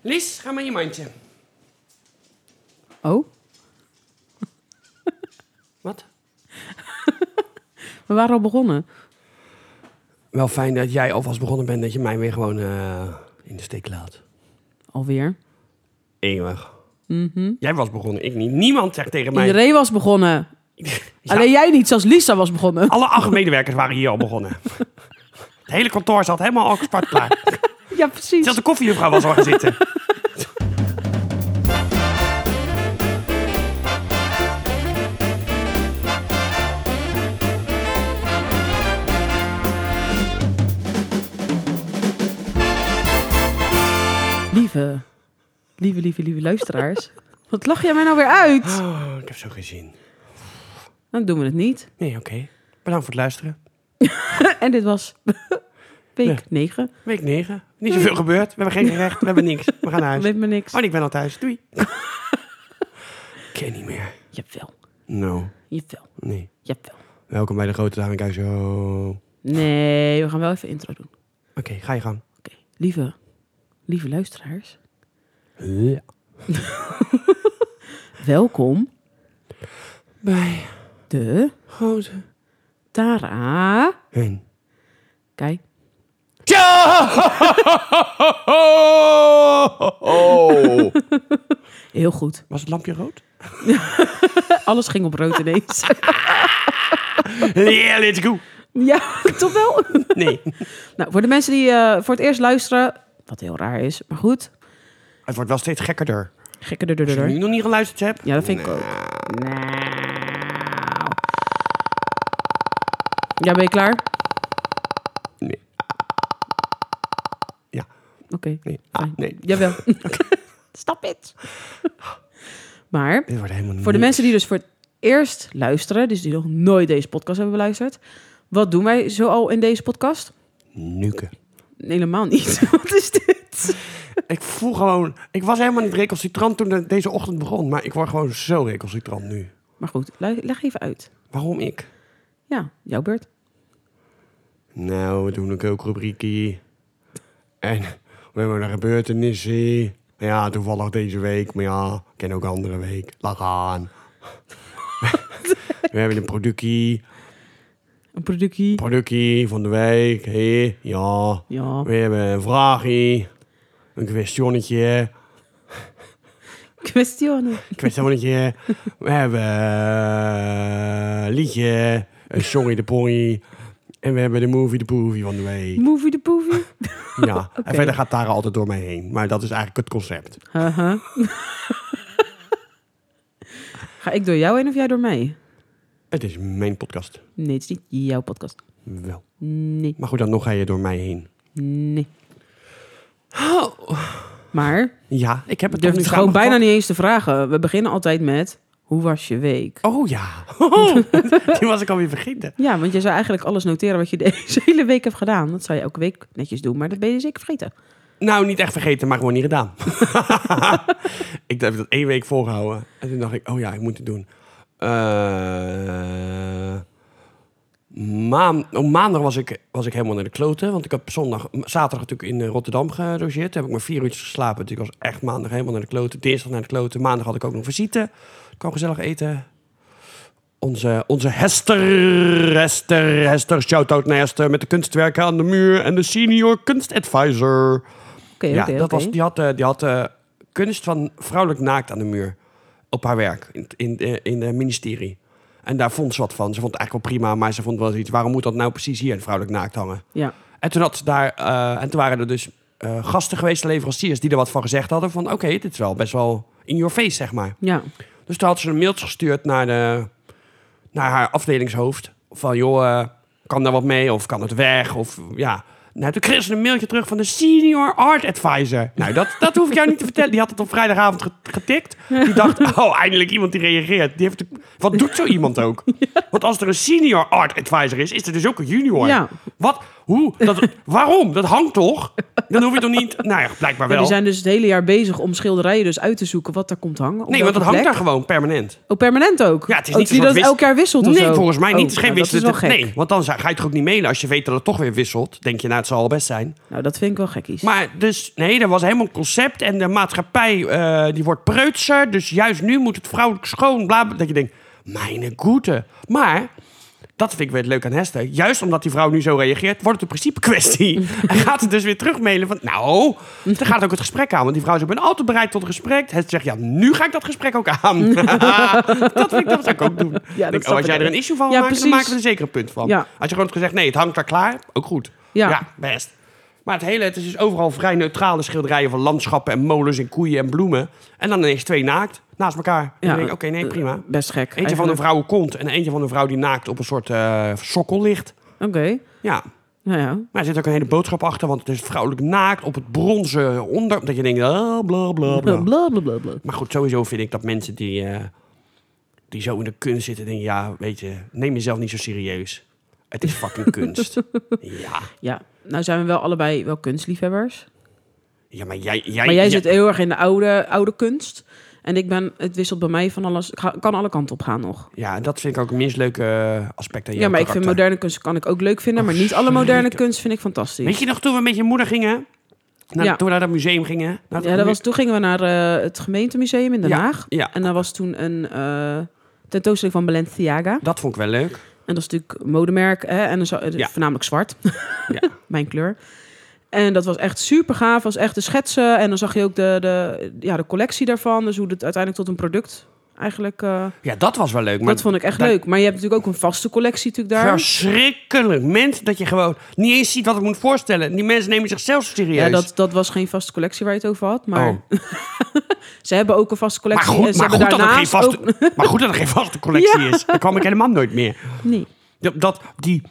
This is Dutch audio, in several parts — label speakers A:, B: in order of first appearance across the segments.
A: Lies, ga maar je mandje.
B: Oh,
A: Wat?
B: we waren al begonnen.
A: Wel fijn dat jij alvast begonnen bent dat je mij weer gewoon eh, in de steek laat.
B: Alweer.
A: Eeuwig. Jij was begonnen, ik niet. Niemand zegt tegen mij...
B: Iedereen was begonnen.
A: Ja,
B: Alleen jij niet, zelfs Lisa was begonnen.
A: Alle acht medewerkers waren hier al begonnen. Het hele kantoor zat helemaal al gespart klaar.
B: Ja, precies.
A: Zelfs de koffiejuffrouw was al gaan zitten.
B: Lieve, lieve, lieve, lieve luisteraars. Wat lach jij mij nou weer uit?
A: Oh, ik heb zo geen zin.
B: Dan doen we het niet.
A: Nee, oké. Bedankt voor het luisteren.
B: En dit was
A: Ja.
B: week 9.
A: Week 9. Niet zoveel gebeurd. We hebben geen gerecht. We hebben niks. We gaan naar huis.
B: Weet me niks.
A: Oh, en ik ben al thuis. Doei. ik ken niet meer.
B: Jawel,
A: Nou,
B: jawel,
A: nee.
B: jawel.
A: Welkom bij de Grote Dame Show. Oké,
B: Nee, we gaan wel even intro doen.
A: ga je gang.
B: Oké, lieve, lieve luisteraars.
A: Ja.
B: Welkom
A: Bij
B: de
A: Grote
B: Tara.
A: en...
B: Kijk,
A: Oh.
B: heel goed.
A: Was het lampje rood?
B: Alles ging op rood ineens.
A: Yeah, let's go.
B: ja, toch wel?
A: Nee.
B: Nou, voor de mensen die eh, voor het eerst luisteren, wat heel raar is, maar goed.
A: Het wordt wel steeds gekkerder.
B: Gekke de
A: Als je nu
B: deur.
A: nog niet geluisterd hebt...
B: Ja, dat vind ik ook.
A: Nou.
B: Nou. Ja, ben je klaar?
A: Nee. Ja,
B: Oké.
A: nee. Ah, nee.
B: Jawel. Stop it. maar
A: Dit wordt helemaal
B: voor de mensen die dus voor het eerst luisteren, dus die nog nooit deze podcast hebben beluisterd, wat doen wij zoal in deze podcast?
A: Nuken.
B: Nee, helemaal niet. wat is dit?
A: Ik voel gewoon... Ik was helemaal niet recalcitrant toen de- deze ochtend begon. Maar ik word gewoon zo recalcitrant nu.
B: Maar goed, lu- leg even uit.
A: Waarom ik?
B: Ja, jouw beurt.
A: Nou, we doen een kookrubriekie. En we hebben een gebeurtenissie. Ja, toevallig deze week. Maar ja, ken ook andere week. Lach aan. we hebben een productie.
B: Een productie.
A: Productie van de week. Hé, ja.
B: Ja,
A: We hebben een vraagje. Een questionnetje.
B: kwestionen.
A: Questionnetje. We hebben eh, een liedje. Een sorry de pony. En we hebben de movie de poovie van de week.
B: Movie de poovie.
A: Ja, en verder gaat Tara altijd door mij heen. Maar dat is eigenlijk het concept.
B: Haha. Ga ik door jou heen of jij door mij?
A: Het is mijn podcast.
B: Nee, het is niet jouw podcast.
A: Wel.
B: Nee,
A: Maar goed, dan nog ga je door mij heen.
B: nee. Maar
A: Ja, ik heb
B: Oh. ik
A: het toch
B: durf het
A: nu
B: gewoon bijna
A: samengevat.
B: niet eens te vragen. We beginnen altijd met, hoe was je week?
A: Oh ja. Die was ik alweer vergeten.
B: Ja, want je zou eigenlijk alles noteren wat je deze hele week hebt gedaan. Dat zou je elke week netjes doen, maar dat ben je zeker vergeten.
A: Nou, niet echt vergeten, maar gewoon niet gedaan. ik heb dat één week volgehouden. En toen dacht ik, oh ja, ik moet het doen. Eh, maan- op maandag was ik, was ik helemaal naar de kloten. Want ik heb zondag, zaterdag natuurlijk in eh, Rotterdam gelogeerd. Toen heb ik maar vier uurtjes geslapen. Dus ik was echt maandag helemaal naar de kloten. Dinsdag naar de kloten. Maandag had ik ook nog visite. Ik kwam gezellig eten. Onze, onze Hester, Hester, Hester, shout-out naar Hester... met de kunstwerken aan de muur en de senior kunstadvisor
B: Oké,
A: ja,
B: oké,
A: dat
B: oké.
A: was, die had, eh, die had eh, kunst van vrouwelijk naakt aan de muur op haar werk in, het- in, eh, in het ministerie. En daar vond ze wat van. Ze vond het eigenlijk wel prima, maar ze vond wel eens iets. Waarom moet dat nou precies hier vrouwelijk naakt hangen?
B: Ja,
A: En toen, had ze daar, eh, en toen waren er dus eh, gasten geweest, leveranciers, die er wat van gezegd hadden. Van oké, dit is wel best wel in your face, zeg maar.
B: ja.
A: Dus toen had ze een mailtje gestuurd naar, de, naar haar afdelingshoofd. Van, joh, eh, kan daar wat mee? Of kan het weg? Of ja. Nou, toen kreeg ze een mailtje terug van de senior art advisor. Nou, dat, dat hoef ik jou niet te vertellen. Die had het op vrijdagavond ge- getikt. Die dacht, oh, eindelijk iemand die reageert. Die heeft, wat doet zo iemand ook? Want als er een senior art advisor is, is er dus ook een junior.
B: Ja.
A: Wat? Hoe? Dat, waarom? Dat hangt toch? Dan hoef je toch niet... Nou ja, blijkbaar
B: Ja,
A: wel.
B: die zijn dus het hele jaar bezig om schilderijen dus uit te zoeken wat daar komt hangen. op
A: nee, want
B: welke
A: dat hangt
B: plek.
A: daar gewoon permanent.
B: Oh, permanent ook?
A: Ja, het is
B: Oh,
A: niet
B: die
A: een
B: dat
A: soort wis-
B: elk jaar wisselt of
A: Nee,
B: zo?
A: volgens mij
B: Oh,
A: niet. Het is geen
B: nou,
A: wisselen.
B: Dat is wel gek.
A: Nee, want dan zou- ga je toch ook niet mailen als je weet dat het toch weer wisselt. Denk je, nou, het zal al best zijn.
B: Nou, dat vind ik wel gekkies.
A: Maar dus, nee, dat was helemaal een concept. En de maatschappij, eh, die wordt preutser. Dus juist nu moet het vrouwelijk schoon, bla, bla, Dat je denkt, mijn goede. Maar, dat vind ik weer het leuk aan Hester. Juist omdat die vrouw nu zo reageert, wordt het een principe kwestie. en gaat het dus weer terugmailen van, nou, dan gaat ook het gesprek aan. Want die vrouw zegt, ik ben altijd bereid tot een gesprek. Hester zegt, ja, nu ga ik dat gesprek ook aan. dat, vind ik, dat zou ik ook doen.
B: dat
A: Denk, oh,
B: snap
A: als
B: ik
A: jij er
B: ook.
A: een issue van
B: Ja,
A: maakt,
B: precies.
A: dan maken we er zeker een punt van.
B: Ja.
A: Als je gewoon had gezegd, nee, het hangt daar klaar, ook goed.
B: Ja.
A: ja best. Maar het hele, het is dus overal vrij neutrale schilderijen van landschappen en molens en koeien en bloemen. En dan ineens twee naakt naast elkaar. En dan
B: Ja. Eh,
A: denk ik, oké, nee, prima.
B: Best gek.
A: Eentje van een vrouw kont en eentje van een vrouw die naakt op een soort eh, sokkel ligt.
B: Oké.
A: Ja,
B: Nou ja.
A: maar er zit ook een hele boodschap achter, want het is vrouwelijk naakt op het bronzen onder. Dat je denkt, ah, bla bla
B: Bla,
A: bla.
B: bla, bla, bla, bla.
A: Maar goed, sowieso vind ik dat mensen die, eh, die zo in de kunst zitten, denken, ja, weet je, neem jezelf niet zo serieus. Het is fucking kunst. Ja,
B: Ja. Nou zijn we wel allebei wel kunstliefhebbers.
A: ja maar jij... jij
B: Maar jij
A: ja-
B: zit heel erg in de oude, oude kunst. En ik ben, het wisselt bij mij van alles. Ik ga- kan alle kanten op gaan nog.
A: Ja, en dat vind ik ook het minst leuke eh, aspect aan
B: Ja,
A: jouw
B: maar ik vind
A: karakter.
B: moderne kunst kan ik ook leuk vinden. Maar niet alle moderne kunst vind ik fantastisch.
A: Weet je nog toen we met je moeder gingen? Naar,
B: Ja.
A: Toen we naar dat museum gingen? Naar het
B: Ja, dat
A: mu-
B: was, toen gingen we naar eh, het gemeentemuseum in Den
A: Ja,
B: Haag.
A: ja.
B: En daar was toen een eh, tentoonstelling van Balenciaga.
A: Dat vond ik wel leuk.
B: En dat is natuurlijk een modemerk. Hè? En dan zo, eh,
A: Ja.
B: voornamelijk zwart.
A: Ja.
B: Mijn kleur. En dat was echt super gaaf. was echt de schetsen. En dan zag je ook de, de, ja, de collectie daarvan. Dus hoe het uiteindelijk tot een product eigenlijk... eh,
A: Ja, dat was wel leuk. Maar
B: dat vond ik echt
A: daar-
B: leuk. Maar je hebt natuurlijk ook een vaste collectie natuurlijk daar.
A: Verschrikkelijk. Mensen dat je gewoon niet eens ziet wat ik moet voorstellen. Die mensen nemen zichzelf serieus.
B: Ja, dat, dat was geen vaste collectie waar je het over had. Maar
A: Oh.
B: ze hebben ook een vaste
A: maar,
B: collectie. en
A: goed,
B: ze
A: maar,
B: hebben
A: goed dat het geen
B: daarnaast
A: vaste,
B: ook-
A: maar goed dat er geen vaste collectie is. Daar kwam ik helemaal nooit meer.
B: Nee.
A: Dat, dat, die,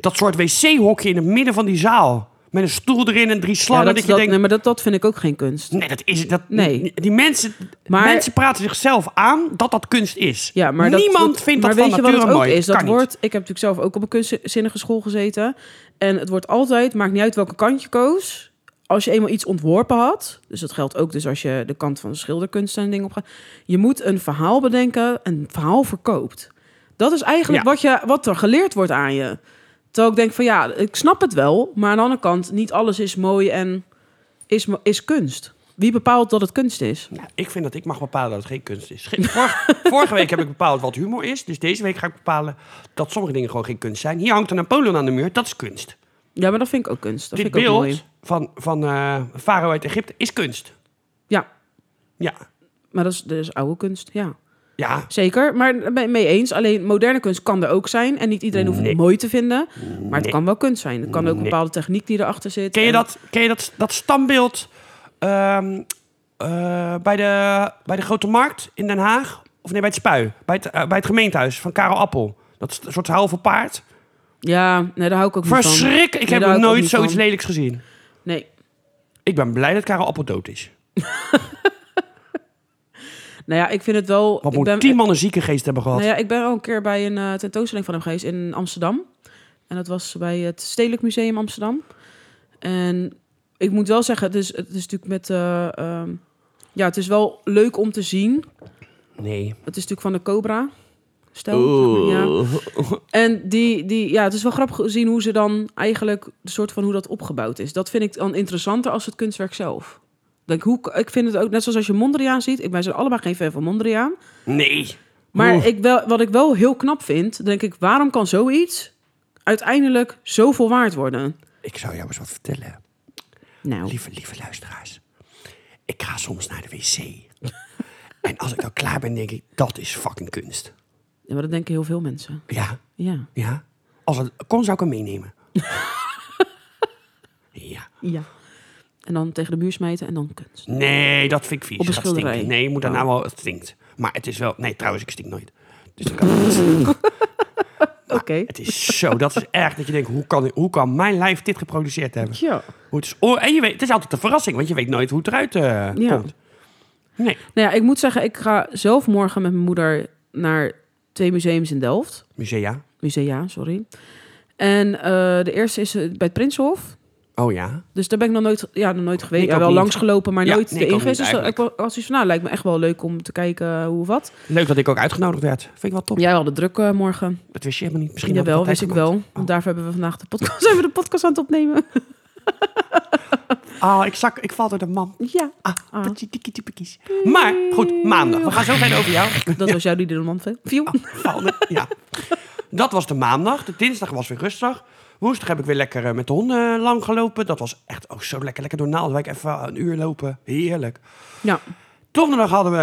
A: dat soort wc-hokje in het midden van die zaal. Met een stoel erin en drie
B: Ja,
A: slangen.
B: dat,
A: dat, je
B: dat-
A: denkt,
B: nee, maar dat, dat vind ik ook geen kunst.
A: Nee, dat is dat.
B: Nee.
A: Die mensen,
B: Maar-
A: mensen praten zichzelf aan dat dat kunst is.
B: Ja, maar dat-
A: Niemand
B: dat-
A: vindt
B: maar
A: dat
B: weet
A: van
B: je wat
A: nature
B: het ook
A: mooi.
B: Is? Dat
A: Kan niet.
B: wordt, ik heb natuurlijk zelf ook op een kunstzinnige school gezeten. En het wordt altijd, maakt niet uit welke kant je koos. Als je eenmaal iets ontworpen had, dus dat geldt ook dus als je de kant van schilderkunst en dingen opgaat. Je moet een verhaal bedenken, een verhaal verkoopt. Dat is eigenlijk
A: Ja.
B: wat, je, wat er geleerd wordt aan je. Terwijl ik denk van ja, ik snap het wel. Maar aan de andere kant, niet alles is mooi en is, mo- is kunst. Wie bepaalt dat het kunst is?
A: Nou, ik vind dat ik mag bepalen dat het geen kunst is. Ge- Vor- vorige week heb ik bepaald wat humor is. Dus deze week ga ik bepalen dat sommige dingen gewoon geen kunst zijn. Hier hangt een Napoleon aan de muur. Dat is kunst.
B: Ja, maar dat vind ik ook kunst. Dat
A: Dit
B: vind ik ook
A: beeld
B: mooi.
A: van, van eh, een farao uit Egypte is kunst.
B: Ja,
A: Ja.
B: Maar dat is, dat is oude kunst, ja.
A: Ja.
B: Zeker, maar daar ben ik mee eens. Alleen moderne kunst kan er ook zijn. En niet iedereen hoeft
A: Nee.
B: het mooi te vinden. Maar het
A: Nee.
B: kan wel kunst zijn. Het kan ook een
A: Nee.
B: bepaalde techniek die erachter zit.
A: Ken je
B: En-
A: dat, ken je dat, dat standbeeld ehm, eh, bij, de, bij de Grote Markt in Den Haag? Of nee, bij het Spui. Bij het, eh, bij het gemeentehuis van Karel Appel. Dat is een soort halve paard.
B: Ja, nee, daar hou ik ook niet van.
A: Verschrik! Ik
B: Nee,
A: heb
B: daar
A: nog
B: hou ik ook
A: nooit
B: niet
A: zoiets
B: van.
A: lelijks gezien.
B: Nee.
A: Ik ben blij dat Karel Appel dood is.
B: Nou ja, ik vind het wel...
A: Wat
B: ik
A: moet
B: ben,
A: tien mannen zieke geest hebben gehad.
B: Nou ja, ik ben al een keer bij een eh, tentoonstelling van hem geweest in Amsterdam. En dat was bij het Stedelijk Museum Amsterdam. En ik moet wel zeggen, het is, het is natuurlijk met... eh, ehm, ja, het is wel leuk om te zien.
A: Nee.
B: Het is natuurlijk van de Cobra. Stel, zeg maar, ja. En die, die, ja, het is wel grappig gezien hoe ze dan eigenlijk de soort van hoe dat opgebouwd is. Dat vind ik dan interessanter als het kunstwerk zelf. Denk, hoe, ik vind het ook net zoals als je Mondriaan ziet. Ik, wij zijn allemaal geen fan van Mondriaan.
A: Nee.
B: Maar
A: Oeh.
B: ik wel, wat ik wel heel knap vind, denk ik, waarom kan zoiets uiteindelijk zoveel waard worden?
A: Ik zou jou eens wat vertellen.
B: Nou,
A: Lieve, lieve luisteraars. Ik ga soms naar de wc. en als ik dan klaar ben, denk ik, dat is fucking kunst.
B: ja, maar dat denken heel veel mensen.
A: Ja.
B: Ja.
A: Ja. Als het kon, zou ik hem meenemen. ja.
B: ja. En dan tegen de muur smijten en dan kunst.
A: Nee, dat vind ik vies.
B: Op een
A: Dat stinkt.
B: schilderij.
A: Nee, je moet daarna
B: Oh.
A: wel... Het stinkt. Maar het is wel... Nee, trouwens, ik stink nooit. Dus dat kan
B: Oké.
A: Het is zo, dat is erg. Dat je denkt, hoe kan, hoe kan mijn lijf dit geproduceerd hebben?
B: Ja.
A: Hoe het is, oh, en je weet, het is altijd een verrassing, want je weet nooit hoe het eruit eh,
B: Ja.
A: komt. Nee,
B: Nou ja, ik moet zeggen, ik ga zelf morgen met mijn moeder naar twee museums in Delft.
A: musea.
B: musea, sorry. En eh, de eerste is eh, bij het Prinsenhof.
A: Oh ja.
B: Dus daar ben ik nog nooit, ja, nog nooit geweest.
A: Ik
B: Ja,
A: ook
B: wel
A: niet.
B: langsgelopen, maar
A: Ja,
B: nooit
A: nee, ik
B: erin
A: ook
B: geweest.
A: niet
B: Dus dat- ik wa- was iets van, nou, lijkt me echt wel leuk om te kijken hoe of wat.
A: Leuk dat ik ook uitgenodigd werd. Vind ik wel top.
B: Jij had het druk eh, morgen.
A: Dat wist je helemaal niet. Misschien
B: Misschien
A: had
B: Jawel,
A: dat
B: wist ik wel. Want
A: Oh.
B: daarvoor hebben we vandaag de podcast, zijn we de podcast aan het opnemen.
A: Ah, ik zak, ik val door de man.
B: ja,
A: Ah, patjetikkietippikies. Maar, goed, maandag. We gaan zo verder over jou.
B: dat was jouw die de man viel.
A: Vallen, ja. Dat was de maandag. De dinsdag was weer rustig. Woensdag heb ik weer lekker eh, met de honden eh, lang gelopen. Dat was echt ook zo lekker. Lekker door Naaldwijk even een uur lopen. Heerlijk.
B: Ja.
A: Donderdag hadden we,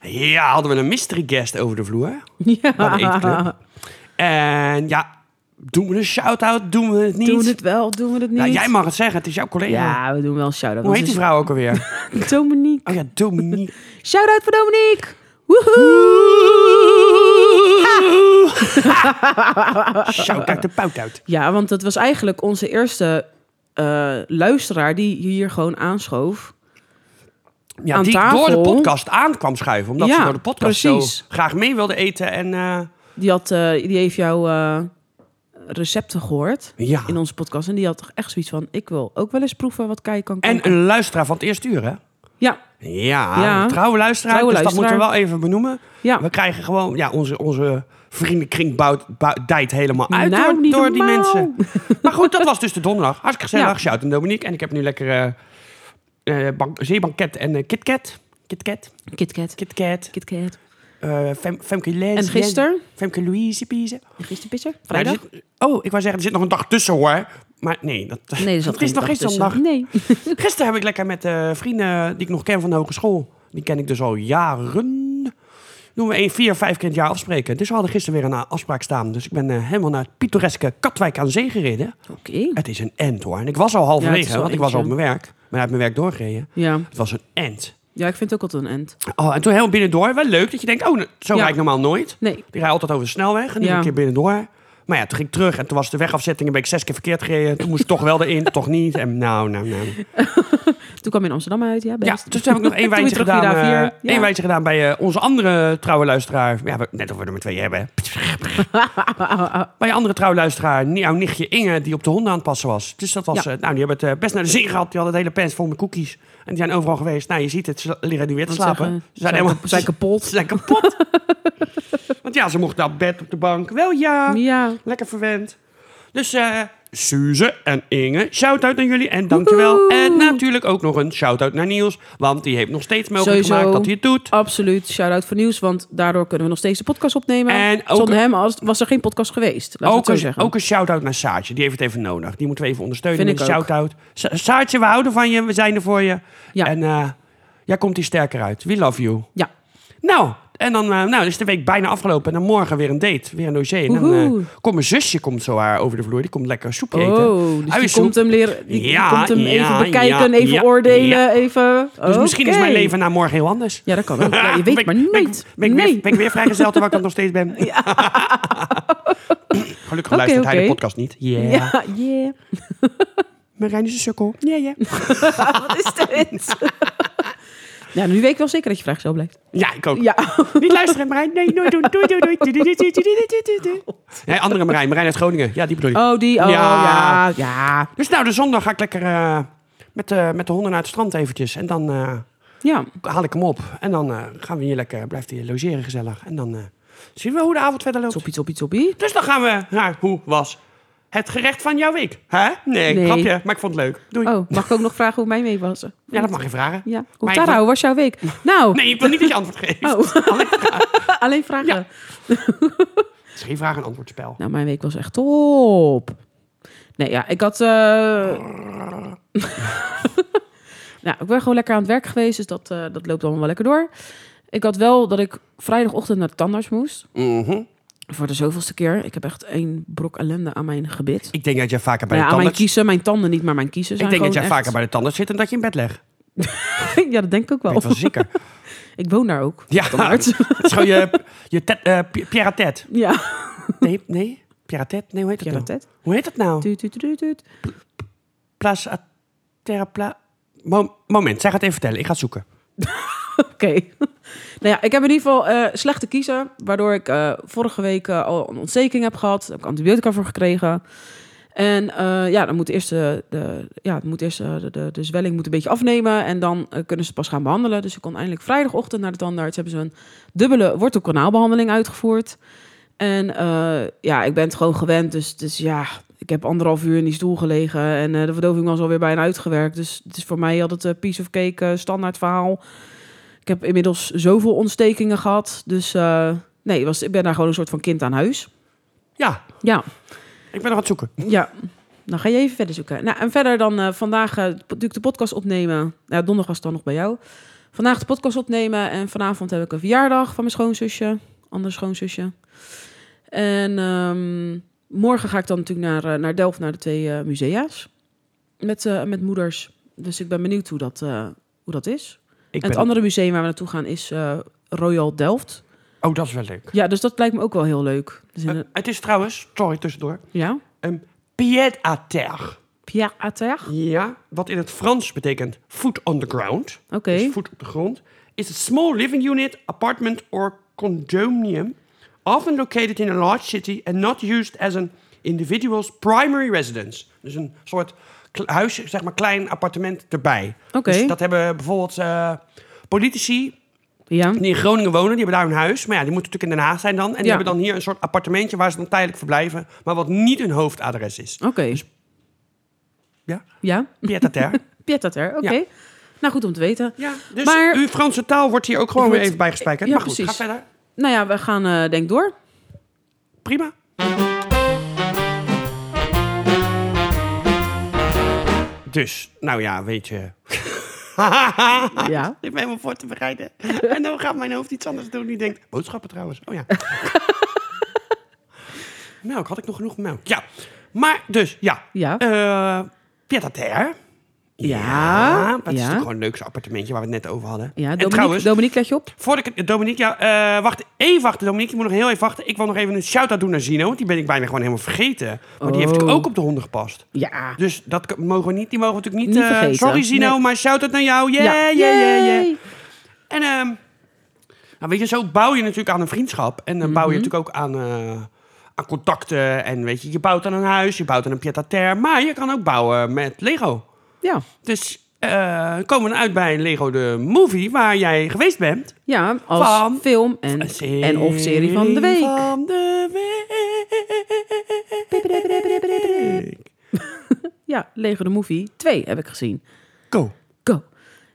A: eh, ja, hadden we een mystery guest over de vloer. Wat een eetclub.
B: ja.
A: En ja, doen we een shout-out? Doen we het niet?
B: Doen we het wel, doen we het niet?
A: Nou, jij mag het zeggen. Het is jouw collega.
B: Ja, we doen wel een shout-out.
A: Hoe
B: want
A: heet die
B: ze
A: vrouw ook alweer?
B: is Dominique.
A: Oh ja, Dominique.
B: Shout-out voor Dominique! Woehoe!
A: Shout uit de pout uit.
B: Ja, want dat was eigenlijk onze eerste eh, luisteraar die hier gewoon aanschoof.
A: Ja,
B: Aan
A: die
B: tafel.
A: door de podcast aan kwam schuiven. Omdat
B: Ja,
A: ze door de podcast
B: precies.
A: zo graag mee wilde eten. En eh,
B: Die, had, eh, die heeft jouw eh, recepten gehoord
A: ja.
B: in onze podcast. En die had toch echt zoiets van, ik wil ook wel eens proeven wat Kai kan koken.
A: En een luisteraar van het eerste uur, hè?
B: Ja,
A: Ja,
B: Ja.
A: een trouwe luisteraar.
B: Trouwe
A: dus dat
B: luisteraar.
A: moeten we wel even benoemen.
B: ja.
A: We krijgen gewoon, ja, onze, onze vriendenkring bouwt, bouwt- dijt helemaal uit
B: Nou,
A: door,
B: niet
A: door die
B: normaal.
A: mensen. Maar goed, dat was dus de donderdag. Hartstikke gezellig.
B: Ja.
A: Shout aan Dominique. En ik heb nu lekker eh, eh, bank- zeebanket en eh, KitKat. KitKat.
B: KitKat.
A: KitKat.
B: KitKat.
A: Eh, Fem- Femke Lens.
B: En gisteren?
A: Femke Louise Pise.
B: Gisteren pisser?
A: Nou, er
B: Vrijdag?
A: zit- oh, ik wou zeggen, er zit nog een dag tussen hoor. Maar nee, dat,
B: Nee, er zat
A: dat is
B: geen
A: nog
B: dag
A: gisteren een dag.
B: tussen. Nee.
A: Gisteren heb ik lekker met eh, vrienden die ik nog ken van de hogeschool. Die ken ik dus al jaren. Doen we één, vier, vijf keer in het jaar afspreken. Dus we hadden gisteren weer een eh, afspraak staan. Dus ik ben eh, helemaal naar het pittoreske Katwijk aan Zee gereden.
B: Oké.
A: Het is een end hoor. En ik was al halverwege,
B: is wel
A: want ik was al
B: eentje.
A: op mijn werk. Maar uit mijn werk doorgereden.
B: Ja.
A: Het was een end.
B: ja, ik vind het ook altijd een end.
A: Oh, en toen helemaal binnendoor. Wel leuk dat je denkt, oh, nou, zo
B: Ja.
A: rijd ik normaal nooit.
B: Nee.
A: Die rij altijd over de snelweg en nu
B: Ja.
A: een keer binnendoor. Maar ja, toen ging ik terug en toen was de wegafzetting een beetje zes keer verkeerd gereden. Toen moest ik toch wel erin, toch niet. En nou, nou, nou.
B: Toen kwam je in Amsterdam uit, ja best.
A: Ja, dus toen heb ik nog één
B: Toen
A: wijntje
B: weer terug
A: gedaan,
B: via de
A: eh,
B: A4. Ja.
A: één wijntje gedaan bij eh, onze andere trouwe luisteraar. Ja, we- net of we er maar twee hebben. hè.
B: Ah,
A: bij een andere trouwe luisteraar, ni- jouw nichtje Inge, die op de honden aan het passen was. Dus dat was,
B: Ja.
A: eh, nou, die hebben het eh, best naar de zin gehad. Die hadden het hele pens vol met cookies. En die zijn overal geweest. Nou, je ziet het, ze liggen nu weer te
B: Want
A: slapen.
B: zeggen,
A: ze zijn helemaal
B: kap- zijn kapot.
A: Ze zijn kapot. Want ja, ze mochten naar bed op de bank. Wel ja.
B: Ja.
A: Lekker verwend. Dus eh Suze en Inge, shout-out aan jullie en dankjewel.
B: Woehoe.
A: En natuurlijk ook nog een shout-out naar Niels. Want die heeft nog steeds mogelijk
B: Sowieso.
A: gemaakt dat hij het doet.
B: Absoluut. Shout-out voor nieuws, want daardoor kunnen we nog steeds de podcast opnemen.
A: En ook-
B: Zonder hem als- was er geen podcast geweest. Laten we het
A: Ook
B: zo
A: een,
B: zeggen.
A: ook een shout-out naar Saartje. Die heeft het even nodig. Die moeten we even ondersteunen
B: Vind
A: met een
B: ik ook.
A: shout-out. Sa- Saartje, we houden van je. We zijn er voor je.
B: Ja.
A: En eh, jij komt hier sterker uit. We love you.
B: Ja.
A: Nou, en dan, eh, nou, is de week bijna afgelopen. En dan morgen weer een date. Weer een dossier. En dan eh,
B: Woehoe.
A: komt mijn zusje komt zo haar over de vloer. Die komt lekker soep eten.
B: Oh, dus die
A: Uiensoep.
B: komt hem leren. Die, die
A: Ja,
B: komt hem
A: ja,
B: even bekijken,
A: ja,
B: even
A: ja,
B: oordelen,
A: ja.
B: even.
A: Dus misschien is mijn leven na morgen heel anders.
B: Ja, dat kan ook. Ja, je weet
A: Ben ik-
B: maar
A: ben ik-
B: nooit.
A: Ben ik,
B: nee.
A: weer, ben ik weer vrijgezel terwijl ik dat nog steeds ben? Gelukkig
B: Oké,
A: luistert hij de
B: oké.
A: podcast niet. Yeah.
B: Ja, yeah.
A: Marijn is een sukkel.
B: Ja, ja. Wat is dit? ja, nu weet ik wel zeker dat je vraag zo blijft.
A: Ja, ik ook.
B: Ja.
A: Niet luisteren, Marijn. Nee, nooit doen. Doei, doei, doei. Doei, doei, doei, doei, doei, doei, doei. Nee, andere Marijn. Marijn uit Groningen. Ja, die bedoel ik.
B: Oh, die. Oh,
A: Ja.
B: ja. Ja.
A: Dus nou, de zondag ga ik lekker eh, met, eh, met de honden naar het strand eventjes. En dan eh,
B: Ja.
A: haal ik hem op. En dan eh, gaan we hier lekker, blijft hij logeren gezellig. En dan eh, zien we hoe de avond verder loopt.
B: Toppie, toppie, toppie.
A: Dus dan gaan we naar hoe was het gerecht van jouw week? Hè? Nee,
B: Nee.
A: grapje, maar ik vond het leuk. Doei.
B: Oh, mag ik ook nog vragen hoe mijn mee was?
A: Ja, dat mag je vragen.
B: Ja. Hoe,
A: Maar ik
B: Tara,
A: wil-
B: hoe was jouw week? Nou,
A: Nee, ik wil niet dat je antwoord geeft.
B: oh. alleen vragen.
A: Ja. Het is geen vraag- en antwoordspel.
B: Nou, mijn week was echt top. Nee, ja, ik had... eh, nou, ik ben gewoon lekker aan het werk geweest, dus dat, eh, dat loopt allemaal wel lekker door. Ik had wel dat ik vrijdagochtend naar de tandarts moest.
A: Mhm.
B: Voor de zoveelste keer. Ik heb echt één brok ellende aan mijn gebit.
A: Ik denk dat jij vaker bij
B: Nou ja,
A: de
B: aan mijn
A: tandarts...
B: kiezen, mijn tanden niet, maar mijn kiezen
A: Ik
B: zijn
A: denk dat jij
B: gewoon
A: vaker bij de tandarts zit en dat je in bed legt.
B: echt- ja, dat denk ik ook wel.
A: Ik was zeker.
B: Ik woon daar ook.
A: Ja,
B: Tandarts.
A: het is gewoon je, je tet, eh, pi- pierre-tet.
B: Ja.
A: Nee, nee. Pierre-tet? Nee, hoe heet dat
B: Ja,
A: nou?
B: dat het.
A: Hoe heet dat nou?
B: Tuut, tuut, tuut, tuut.
A: Plaza... Terapla... Mo- moment, zij gaat even vertellen. Ik ga het zoeken.
B: Oké. Nou ja, ik heb in ieder geval eh, slechte kiezen. Waardoor ik eh, vorige week eh, al een ontsteking heb gehad. Daar heb ik antibiotica voor gekregen. En eh, ja, dan moet eerst, de, de, ja, het moet eerst eh, de, de, de zwelling moet een beetje afnemen. En dan eh, kunnen ze het pas gaan behandelen. Dus ik kon eindelijk vrijdagochtend naar de tandarts. Hebben ze een dubbele wortelkanaalbehandeling uitgevoerd. En eh, ja, ik ben het gewoon gewend. Dus, dus ja, ik heb anderhalf uur in die stoel gelegen. En eh, de verdoving was alweer bijna uitgewerkt. Dus het is voor mij had het eh, piece of cake eh, standaard verhaal. Ik heb inmiddels zoveel ontstekingen gehad. Dus eh, nee, was, ik ben daar gewoon een soort van kind aan huis.
A: Ja,
B: Ja,
A: ik ben nog aan het zoeken.
B: ja. Dan ga je even verder zoeken. Nou, en verder dan eh, vandaag eh, natuurlijk de podcast opnemen. Ja, donderdag was het dan nog bij jou. Vandaag de podcast opnemen. En vanavond heb ik een verjaardag van mijn schoonzusje. Andere schoonzusje. En ehm, morgen ga ik dan natuurlijk naar, eh, naar Delft, naar de twee eh, musea's. Met, eh, met moeders. Dus ik ben benieuwd hoe dat, eh, hoe dat is.
A: Ik
B: en
A: ben...
B: het andere museum waar we naartoe gaan is eh, Royal Delft.
A: Oh, dat is wel leuk.
B: Ja, dus dat lijkt me ook wel heel leuk. Dus in
A: Eh,
B: een-
A: het is trouwens, sorry tussendoor,
B: ja,
A: een pied à terre.
B: Pierre Atter.
A: Ja, wat in het Frans betekent foot on the ground.
B: Oké.
A: Dus voet op de grond. Is a small living unit, apartment or condominium. Often located in a large city and not used as an individual's primary residence. Dus een soort kle- huis, zeg maar klein appartement erbij.
B: Oké.
A: Dus dat hebben bijvoorbeeld eh, politici
B: Ja.
A: die in Groningen wonen. Die hebben daar hun huis. Maar ja, die moeten natuurlijk in Den Haag zijn dan. En die
B: Ja.
A: hebben dan hier een soort appartementje waar ze dan tijdelijk verblijven. Maar wat niet hun hoofdadres is.
B: Oké.
A: Ja,
B: Ja,
A: pied à terre.
B: Piet Atter. Oké.
A: Ja.
B: Nou, goed om te weten.
A: Ja, dus
B: Maar-
A: uw Franse taal wordt hier ook gewoon
B: Wordt-
A: weer even bijgespijkerd.
B: Ja,
A: maar goed,
B: precies.
A: ga verder.
B: Nou ja, we gaan eh, denk door.
A: Prima. Dus, nou ja, weet je.
B: Ja.
A: Ik ben helemaal voor te bereiden. En dan gaat mijn hoofd iets anders doen. Die denkt, boodschappen trouwens. Oh ja. melk, had ik nog genoeg melk? Ja. Maar dus, ja.
B: Ja.
A: Eh, Pied à terre.
B: Ja,
A: Dat is
B: Ah, ja.
A: natuurlijk gewoon een leuk appartementje waar we het net over hadden.
B: Ja,
A: en
B: Dominique,
A: trouwens,
B: Dominique, let je op.
A: Voordat ik het... Dominique, ja, eh, wacht. Even wachten, Dominique. Je moet nog heel even wachten. Ik wil nog even een shout-out doen naar Zino. Want die ben ik bijna gewoon helemaal vergeten. Maar die heeft
B: Oh.
A: natuurlijk ook op de honden gepast.
B: Ja.
A: Dus dat k- mogen we niet. Die mogen we natuurlijk niet...
B: Niet
A: eh,
B: vergeten.
A: sorry, Zino,
B: Nee.
A: maar shout-out naar jou. Yeah,
B: ja.
A: yeah, yeah, yeah.
B: Yay.
A: En ehm, nou, weet je, zo bouw je natuurlijk aan een vriendschap. En dan bouw
B: Mhm.
A: je natuurlijk ook aan... eh, aan contacten en weet je, je bouwt aan een huis, je bouwt aan een pied-à-terre, maar je kan ook bouwen met Lego.
B: Ja.
A: Dus eh, komen we uit bij Lego de Movie, waar jij geweest bent.
B: Ja, als
A: Van-
B: film en,
A: Een serie
B: en of serie van de week.
A: van de week.
B: Ja, Lego de Movie 2 heb ik gezien.
A: Go.
B: Go.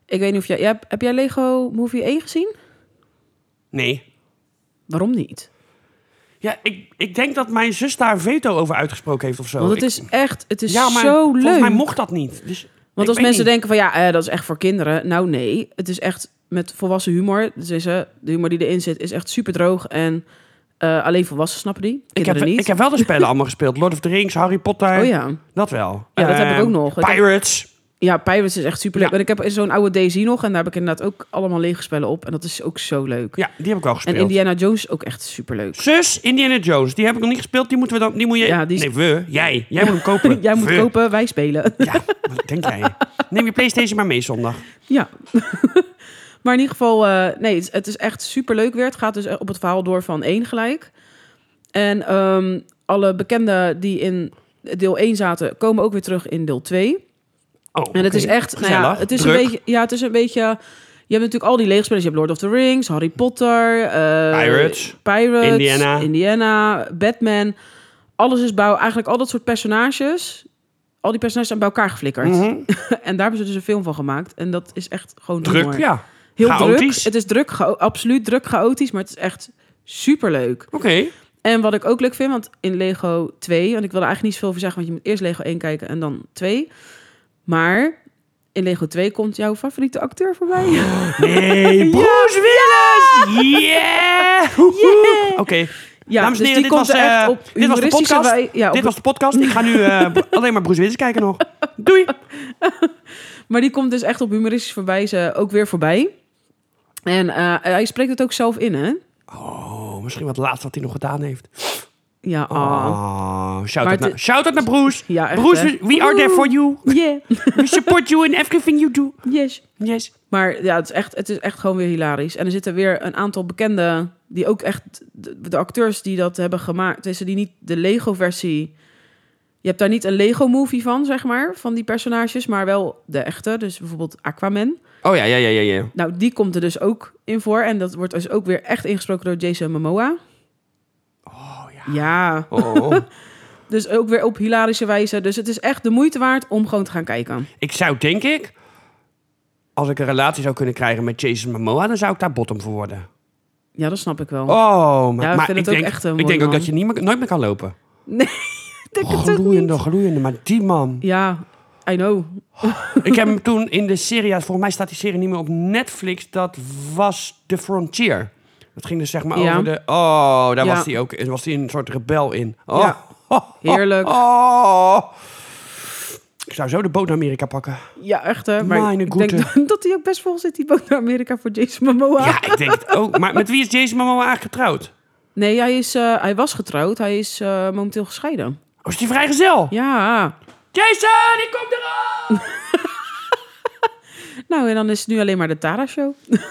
B: Ik weet niet of jij... jij hebt- heb jij Lego Movie 1 gezien?
A: Nee.
B: Waarom niet?
A: Ja, ik, ik denk dat mijn zus daar een veto over uitgesproken heeft of zo.
B: Want het
A: Ik-
B: is echt... Het is
A: ja, maar
B: zo leuk.
A: volgens mij mocht dat niet. Dus ik
B: Want als
A: weet
B: mensen
A: niet.
B: denken van ja, eh, dat is echt voor kinderen. Nou nee, het is echt met volwassen humor. Dus is, eh, de humor die erin zit is echt super droog. En eh, alleen volwassenen snappen die,
A: Ik
B: kinderen
A: heb,
B: niet.
A: ik heb wel de spellen allemaal gespeeld. Lord of the Rings, Harry Potter.
B: Oh ja.
A: Dat wel.
B: Ja, dat heb ik
A: Ehm,
B: ook nog. Ik heb-
A: Pirates.
B: Ja, Pirates is echt super leuk.
A: Ja.
B: En ik heb zo'n oude Daisy nog. En daar heb ik inderdaad ook allemaal lege spellen op. En dat is ook zo leuk.
A: Ja, die heb ik al
B: en
A: gespeeld.
B: Indiana Jones is ook echt super leuk.
A: Zus, Indiana Jones. Die heb ik nog niet gespeeld. Die moeten we dan... Die moet je...
B: Ja, die is-
A: Nee, we. Jij. Jij moet hem kopen.
B: Jij moet
A: We.
B: kopen, wij spelen.
A: Ja, wat denk jij? Neem je Playstation maar mee zondag.
B: Ja. maar in ieder geval, eh, nee, het, is- het is echt super leuk weer. Het gaat dus op het verhaal door van één gelijk. En ehm, alle bekenden die in deel 1 zaten, komen ook weer terug in deel 2.
A: Oh,
B: En het is echt, nou ja, het is een beetje, ja, het is een beetje. Je hebt natuurlijk al die leegspelers. Je hebt Lord of the Rings, Harry Potter, eh,
A: Pirates.
B: Pirates,
A: Indiana.
B: Indiana, Batman. Alles is bouw, eigenlijk al dat soort personages. Al die personages zijn bij elkaar geflikkerd.
A: Mhm.
B: en daar hebben ze dus een film van gemaakt. En dat is echt gewoon
A: druk.
B: humor.
A: Ja.
B: Heel
A: Chaotisch.
B: druk. Het is druk, chao- absoluut druk chaotisch, maar het is echt superleuk.
A: Oké.
B: En wat ik ook leuk vind, want in Lego 2, want ik wil er eigenlijk niet zoveel over zeggen, want je moet eerst Lego 1 kijken en dan 2. Maar in Lego 2 komt jouw favoriete acteur voorbij.
A: Oh. Nee, Bruce Willis! Yeah! Woehoe! Oké.
B: Ja,
A: Oh, Dames en heren,
B: dus die
A: dit
B: komt
A: was,
B: er
A: eh,
B: echt op
A: dit was de
B: humoristische
A: podcast.
B: wij- ja, op
A: Dit was de podcast. Ik ga nu eh, b- alleen maar Bruce Willis kijken nog. Doei!
B: Maar die komt dus echt op humoristische verwijze ook weer voorbij. En eh, hij spreekt het ook zelf in, hè?
A: Oh, misschien wat laatst wat hij nog gedaan heeft.
B: Ja, ah.
A: Oh,
B: Maar
A: shout-out
B: het-
A: naar, shout out naar Bruce.
B: Ja, echt,
A: Bruce,
B: hè?
A: we, we are there for you.
B: Yeah,
A: We support you in everything you do.
B: yes.
A: Yes.
B: Maar ja, het is, echt, het is echt gewoon weer hilarisch. En er zitten weer een aantal bekenden, die ook echt de, de acteurs die dat hebben gemaakt, tussen die niet de Lego-versie. Je hebt daar niet een Lego-movie van, zeg maar, van die personages, maar wel de echte. Dus bijvoorbeeld Aquaman.
A: Oh ja, ja, ja, ja. ja.
B: Nou, die komt er dus ook in voor. En dat wordt dus ook weer echt ingesproken door Jason Momoa.
A: Oh ja.
B: Ja,
A: Oh, oh, oh.
B: dus ook weer op hilarische wijze. Dus het is echt de moeite waard om gewoon te gaan kijken.
A: ik zou, denk ik, als ik een relatie zou kunnen krijgen met Jason Momoa, dan zou ik daar bottom voor worden.
B: Ja, dat snap ik wel.
A: Oh, maar,
B: Ja, ik
A: maar
B: vind
A: ik
B: het ook
A: denk,
B: echt
A: ik
B: een mooi
A: denk ook
B: man.
A: dat je niet meer, nooit meer kan lopen.
B: Ik denk het ook
A: Gloeiende,
B: niet.
A: gloeiende, maar die man.
B: Ja, I know.
A: ik heb hem toen in de serie, ja, volgens mij staat die serie niet meer op Netflix, dat was The Frontier. Dat ging dus zeg maar
B: Ja.
A: over de... Oh, daar
B: Ja.
A: was hij ook, was hij een soort rebel in. Oh,
B: Ja. Heerlijk.
A: Oh. Ik zou zo de boot naar Amerika pakken.
B: Ja, echt hè. Maar
A: Meine
B: ik denk
A: Güte.
B: dat- dat hij ook best vol zit, die boot naar Amerika voor Jason Momoa.
A: Ja, ik denk het ook. Maar met wie is Jason Momoa eigenlijk getrouwd? Oh,
B: Nee, hij, is, eh, hij was getrouwd. Hij is eh, momenteel gescheiden.
A: Oh, is die vrijgezel?
B: Ja.
A: Jason, ik kom eraan!
B: Nou, en dan is het nu alleen maar de Tara-show.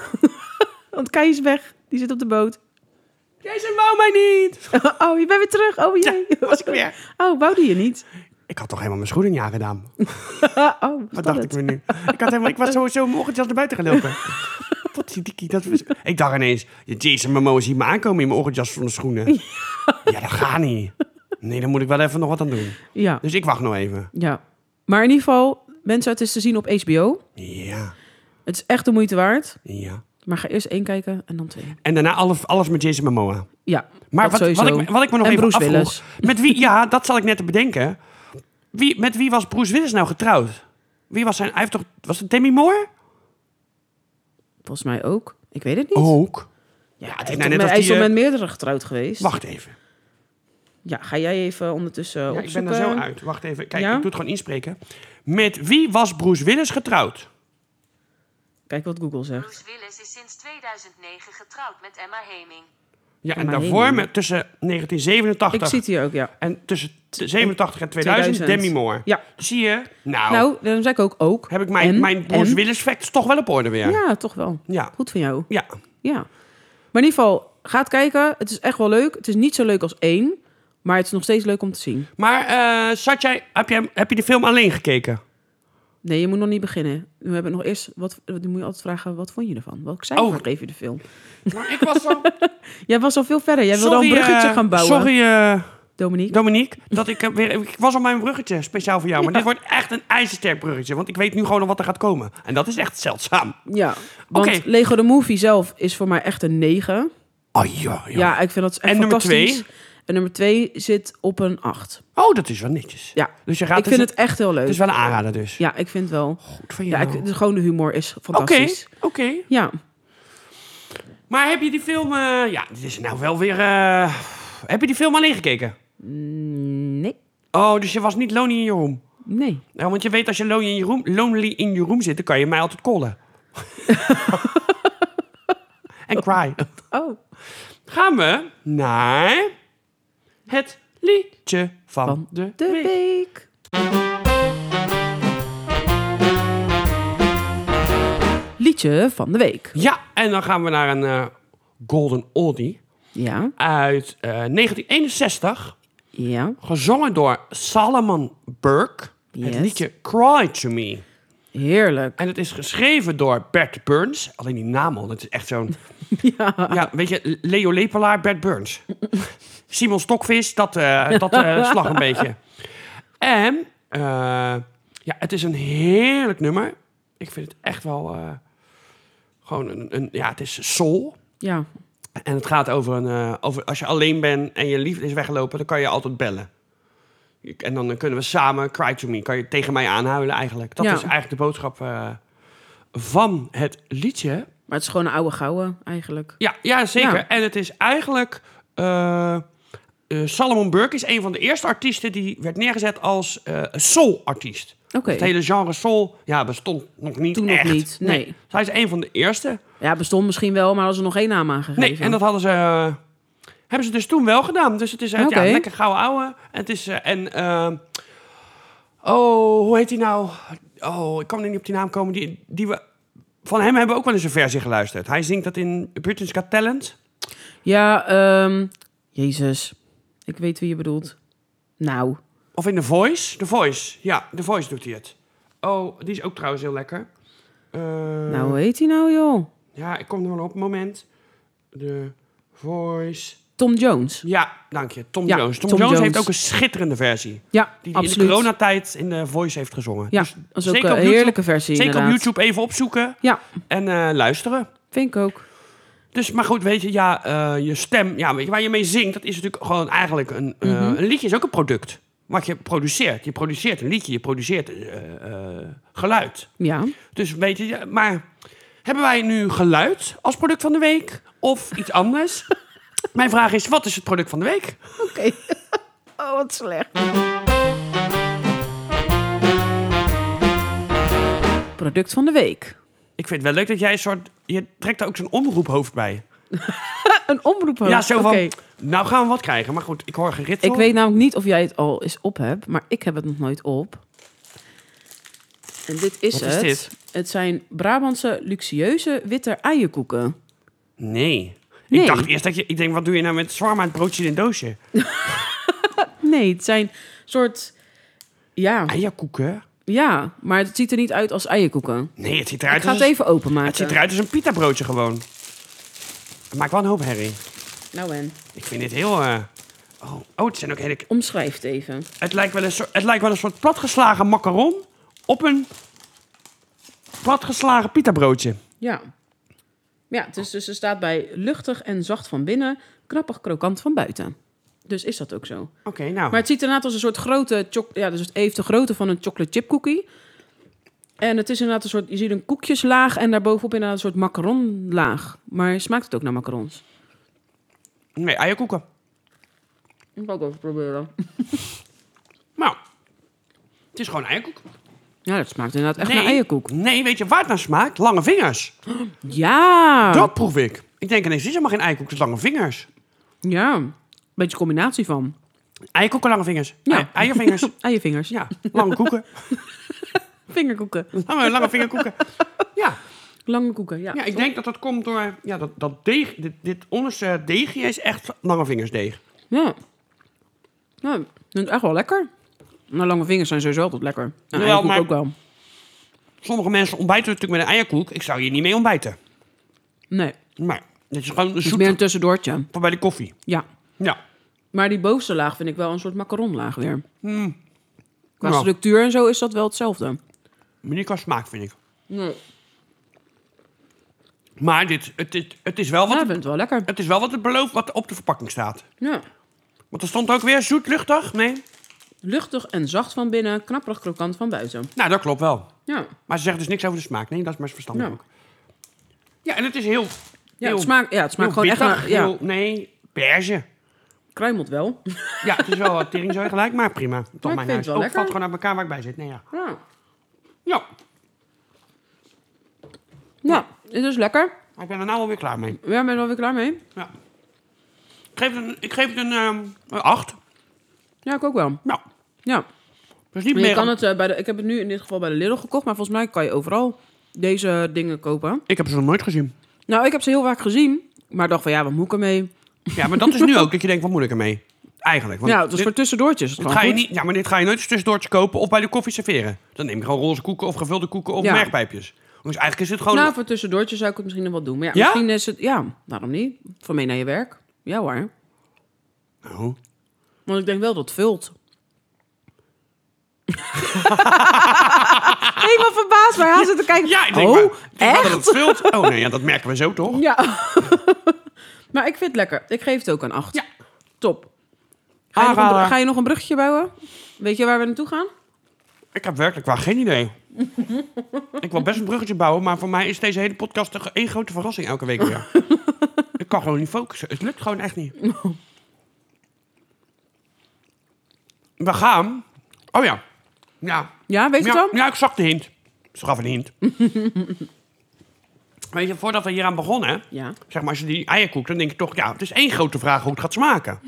B: Want Kai is weg. Die zit op de boot.
A: Jason wou mij niet!
B: oh, je bent weer terug. Oh jee.
A: Was ik weer.
B: Oh, wou die je niet?
A: Ik had toch helemaal mijn schoenen niet aangedaan.
B: oh,
A: Wat
B: wat
A: dacht ik
B: het?
A: me nu? Ik, had helemaal, ik was sowieso morgen naar buiten gelopen. Wat die dikkie, dat was... Ik dacht ineens, Jason Momoa ziet me aankomen in mijn ochtendjas van de schoenen. Ja, dat gaat niet. Nee, daar moet ik wel even nog wat aan doen.
B: Ja.
A: Dus ik wacht nog even.
B: ja. Maar in ieder geval, mensen, het is te zien op HBO.
A: Ja,
B: Het is echt de moeite waard.
A: ja.
B: Maar ga eerst één kijken en dan twee.
A: En daarna alles, alles met Jason Momoa.
B: Ja,
A: Maar
B: dat
A: wat,
B: sowieso.
A: wat, ik, me- wat ik me nog
B: En
A: even
B: Bruce
A: afvroeg...
B: Willis.
A: Met wie, ja, dat zal ik net te bedenken. Wie, met wie was Bruce Willis nou getrouwd? Wie was zijn... Hij heeft toch... Was het Demi Moore?
B: Volgens mij ook. Ik weet het niet.
A: Ook.
B: ja,
A: het is
B: hij
A: nou net
B: met-
A: of
B: hij
A: die,
B: is al
A: eh,
B: met meerdere getrouwd geweest.
A: Wacht even.
B: Ja, ga jij even ondertussen
A: Ja, ik ben
B: opzoeken.
A: er zo uit. Wacht even. Kijk,
B: dus eh, Ja?
A: ik doe het gewoon inspreken. Met wie was Bruce Willis getrouwd?
B: Kijk wat Google zegt.
C: Bruce Willis is sinds 2009 getrouwd met Emma Heming.
A: Ja, en
B: maar
A: daarvoor
B: heen.
A: met, tussen 1987
B: Ik zie het hier ook, ja.
A: en tussen t- 87 en 2000,
B: 2000.
A: Demi Moore.
B: Ja.
A: Zie je? Nou,
B: Nou, dan zeg ik ook ook.
A: heb ik mijn,
B: en,
A: mijn Bruce
B: en.
A: Willis facts toch wel op orde weer.
B: Ja, toch wel.
A: Ja.
B: Goed van jou.
A: Ja.
B: Ja. Maar in ieder geval, ga het kijken. Het is echt wel leuk. Het is niet zo leuk als één. Maar het is nog steeds leuk om te zien.
A: Maar eh, zat jij, heb, jij, heb je de film alleen gekeken?
B: Nee, je moet nog niet beginnen. We hebben nog eerst... Wat, die moet je altijd vragen, wat vond je ervan? Welk cijfer
A: Oh.
B: geef je de film?
A: Maar Nou, ik was zo...
B: Jij was al veel verder. Jij wilde al een
A: Sorry,
B: bruggetje
A: eh,
B: gaan bouwen,
A: Sorry, eh,
B: Dominique.
A: Dominique. Dat ik, eh, weer, ik was al mijn bruggetje, speciaal voor jou. Maar dit wordt echt een ijzersterk bruggetje. Want ik weet nu gewoon al wat er gaat komen. En dat is echt zeldzaam.
B: Ja, want
A: Oké.
B: Lego the Movie zelf is voor mij echt een 9.
A: Oh ja, ja.
B: Ja, ik vind dat echt
A: En nummer
B: fantastisch.
A: twee?
B: En nummer 2 zit op een 8.
A: Oh, dat is wel netjes.
B: Ja,
A: Dus je gaat
B: ik
A: dus-
B: vind het echt heel leuk.
A: Het is wel een aanrader dus.
B: Ja, ik vind wel.
A: Goed van
B: Ja,
A: jou.
B: ik, dus gewoon de humor is
A: Oké,
B: fantastisch.
A: oké.
B: Ja,
A: Maar heb je die film... eh, ja, dit is nou wel weer... eh, heb je die film alleen gekeken?
B: nee,
A: Oh, dus je was niet lonely in je room.
B: nee.
A: Nou, want je weet als je lonely in je room, lonely in je room zit, dan kan je mij altijd callen. en cry.
B: Oh,
A: Gaan we naar het liedje van,
B: van
A: de,
B: de
A: week.
B: week. Liedje van de week.
A: Ja, en dan gaan we naar een eh, golden oldie
B: Ja,
A: uit eh, 1961.
B: ja,
A: gezongen door Solomon Burke.
B: Yes.
A: Het liedje Cry To Me.
B: heerlijk.
A: En het is geschreven door Bert Burns. Alleen die naam al, dat is echt zo'n... ja. weet je, Leo Lepelaar, Bert Burns. Simon Stokvis, dat, eh, dat eh, slag een beetje. En eh, ja, het is een heerlijk nummer. Ik vind het echt wel eh, gewoon een, een... Ja, het is soul.
B: Ja,
A: En het gaat over een. eh, over, als je alleen bent en je liefde is weggelopen, dan kan je altijd bellen. Ik- En dan eh, kunnen we samen cry to me. Kan je tegen mij aanhuilen eigenlijk. Dat
B: Ja.
A: is eigenlijk de boodschap eh, van het liedje.
B: maar het is gewoon een oude gouden eigenlijk.
A: Ja, ja zeker.
B: Ja.
A: En het is eigenlijk. eh, eh, Salomon Burke is een van de eerste artiesten die werd neergezet als eh, een soul-artiest.
B: Oké.
A: Het hele genre soul ja, bestond nog niet
B: Toen nog
A: echt.
B: niet, nee.
A: Dus hij is een van de eerste.
B: Ja, bestond misschien wel, maar er was er nog geen naam aangegeven.
A: Nee, en dat hadden ze. eh, hebben ze dus toen wel gedaan. Dus het is eh,
B: Oké.
A: ja, lekker gouden ouwe. En het is. eh, en. eh, oh, hoe heet die nou? Oh, ik kan er niet op die naam komen. Die, die we Van hem hebben we ook wel eens een versie geluisterd. Hij zingt dat in Britain's Got Talent.
B: Ja, ehm, Jezus. Ik weet wie je bedoelt. Nou,
A: Of in The Voice. The Voice. Ja, The Voice doet hij het. Oh, die is ook trouwens heel lekker. Eh,
B: nou hoe heet hij nou, joh?
A: Ja, ik kom er wel op. Moment. The Voice.
B: Tom Jones.
A: Ja, dank je. Tom
B: Ja,
A: Jones. Tom,
B: Tom
A: Jones, heeft
B: Jones.
A: ook een schitterende versie.
B: Ja,
A: Die hij in de
B: absoluut.
A: coronatijd in The Voice heeft gezongen.
B: ja,
A: Dus
B: dat is ook
A: zeker
B: een
A: op YouTube-
B: heerlijke versie
A: zeker op
B: inderdaad.
A: YouTube even opzoeken
B: Ja,
A: en eh, luisteren.
B: vind ik ook.
A: Dus, maar goed, weet je, ja, eh, je stem, ja, weet je, waar je mee zingt, dat is natuurlijk gewoon eigenlijk een... eh,
B: Mhm.
A: Een liedje is ook een product. Wat je produceert. Je produceert een liedje, je produceert eh, eh, geluid.
B: Ja.
A: Dus weet je, ja, maar hebben wij nu geluid als product van de week? Of iets anders? Mijn vraag is, wat is het product van de week?
B: Oké. oh, wat slecht. Product van de week.
A: Ik vind het wel leuk dat jij een soort... Je trekt daar ook zo'n omroephoofd bij.
B: Een omroep.
A: ja, zo van...
B: Oké.
A: Nou gaan we wat krijgen. Maar goed, ik hoor geritsel.
B: Ik weet namelijk niet of jij het al eens op hebt, maar ik heb het nog nooit op. En dit is
A: Wat is
B: het.
A: dit?
B: Het zijn Brabantse luxueuze witte eierkoeken.
A: Nee.
B: Nee.
A: Ik dacht eerst dat je... Ik denk, wat doe je nou met zwaar het broodje in een doosje?
B: Nee, het zijn soort ja,
A: Eierkoeken?
B: ja, maar het ziet er niet uit als eierkoeken.
A: Nee, het ziet
B: Ik
A: eruit
B: ga
A: als...
B: het even openmaken.
A: het ziet eruit als een pita broodje gewoon. Het maakt wel een hoop herrie.
B: Nou en
A: Ik vind dit heel... eh, Oh, oh, het zijn ook hele...
B: omschrijf het even.
A: Het lijkt wel een soort, het lijkt wel een soort platgeslagen macaron op een platgeslagen pitabroodje.
B: Ja. Ja, het is, dus er staat bij luchtig en zacht van binnen, knappig krokant van buiten. Dus is dat ook zo.
A: Oké, nou.
B: Maar het ziet inderdaad als een soort grote... choc- Ja, dus het heeft de grootte van een chocolate chip cookie. En het is inderdaad een soort... Je ziet een koekjeslaag en daarbovenop inderdaad een soort macaronlaag. Maar smaakt het ook naar macarons?
A: Nee, eierkoeken.
B: Ik ga ook even proberen.
A: Nou, het is gewoon eierkoek.
B: Ja, dat smaakt inderdaad echt
A: nee,
B: naar eierkoek.
A: Nee, weet je waar het naar smaakt? Lange vingers.
B: Ja!
A: Dat proef ik. Ik denk ineens, dit is helemaal geen eierkoek, het is lange vingers.
B: Ja. Beetje combinatie van.
A: Eierkoeken, lange vingers.
B: Ja.
A: Ja. eiervingers.
B: Eiervingers.
A: ja, lange koeken.
B: Vingerkoeken.
A: Lange, lange vingerkoeken. Ja.
B: Lange koeken, ja.
A: ja, ik denk dat dat komt door... Ja, dat, dat deeg, dit, dit onderste deegje is echt lange vingersdeeg.
B: Ja. Ja, ik vind het echt wel lekker. Nou, lange vingers zijn sowieso altijd lekker. En
A: Jawel,
B: eierkoek
A: maar-
B: ook wel.
A: Sommige mensen ontbijten natuurlijk met een eierkoek. Ik zou hier niet mee ontbijten.
B: Nee, het
A: Maar dit is gewoon een
B: is meer een
A: zoete
B: tussendoortje.
A: voor bij de koffie.
B: Ja.
A: Ja.
B: Maar die bovenste laag vind ik wel een soort macaronlaag weer. Qua
A: Hmm. Nou,
B: structuur en zo is dat wel hetzelfde.
A: maar niet qua smaak, vind ik.
B: Nee.
A: Maar dit, het, het, het, is wel
B: Ja, ik
A: wat,
B: vind het wel lekker.
A: het is wel wat het belooft wat op de verpakking staat.
B: Ja.
A: Want er stond ook weer zoet, luchtig. Nee?
B: Luchtig en zacht van binnen, knapperig krokant van buiten.
A: Nou, dat klopt wel.
B: Ja.
A: Maar ze zeggen dus niks over de smaak. Nee, dat is maar verstandig
B: Ja.
A: ook. Ja, en het is heel...
B: Ja,
A: heel-
B: het smaakt, ja, het smaakt
A: heel
B: gewoon echt
A: bitter,
B: naar... Ja,
A: heel- nee, beige.
B: kruimelt wel.
A: Ja, het is wel wat teringzooi gelijk, maar prima. Tot
B: ik
A: mijn
B: vind
A: huis.
B: het wel
A: Ook
B: lekker.
A: valt gewoon uit elkaar waar ik bij zit. Nee, ja.
B: Ja.
A: Ja,
B: Nou, het is lekker.
A: maar ik ben er nou alweer klaar mee.
B: Ja, ben je er alweer klaar mee?
A: Ja. Ik geef het een, ik geef het een, ehm, een acht.
B: Ja, ik ook wel.
A: Nou,
B: Ja.
A: dat is niet
B: Maar Je
A: meer...
B: kan het, eh, bij de, ik heb het nu in dit geval bij de Lidl gekocht, maar volgens mij kan je overal deze dingen kopen.
A: Ik heb ze nog nooit gezien.
B: Nou, ik heb ze heel vaak gezien, maar dacht van ja, wat moet ik ermee?
A: Ja, maar dat is nu ook dat je denkt, wat moet ik ermee? Eigenlijk. Want
B: ja, het is
A: dit,
B: voor tussendoortjes.
A: dit ga je niet, ja, maar dit ga je nooit tussendoortje kopen of bij de koffie serveren. Dan neem je gewoon roze koeken of gevulde koeken of
B: Ja.
A: merkpijpjes. Dus eigenlijk is het gewoon...
B: Nou, voor tussendoortjes zou ik het misschien nog wel doen. Maar ja,
A: Ja?
B: misschien is het... Ja, waarom niet? Voor mee naar je werk. Ja hoor.
A: Oh.
B: Want ik denk wel dat het vult. Helemaal verbaasd waar hij zit te kijken.
A: Ja, ik denk,
B: oh,
A: maar, ik denk wel
B: echt?
A: dat het vult. Oh nee, ja, dat merken we zo toch?
B: Ja. maar ik vind het lekker. Ik geef het ook een 8.
A: Ja.
B: Top. Ga je, nog een,
A: Aanrader.
B: br- ga je nog een brugje bouwen? Weet je waar we naartoe gaan?
A: Ik heb werkelijk waar geen idee. ik wil best een bruggetje bouwen, maar voor mij is deze hele podcast toch één grote verrassing elke week weer. ik kan gewoon niet focussen. Het lukt gewoon echt niet. we gaan... Oh ja. Ja,
B: Ja, weet je
A: ja,
B: het dan?
A: ja, ik zag de hint. Ze gaf een hint. Weet je, voordat we hieraan begonnen,
B: Ja.
A: zeg maar, als je die eierkoek, dan denk je toch, ja, het is één grote vraag hoe het gaat smaken.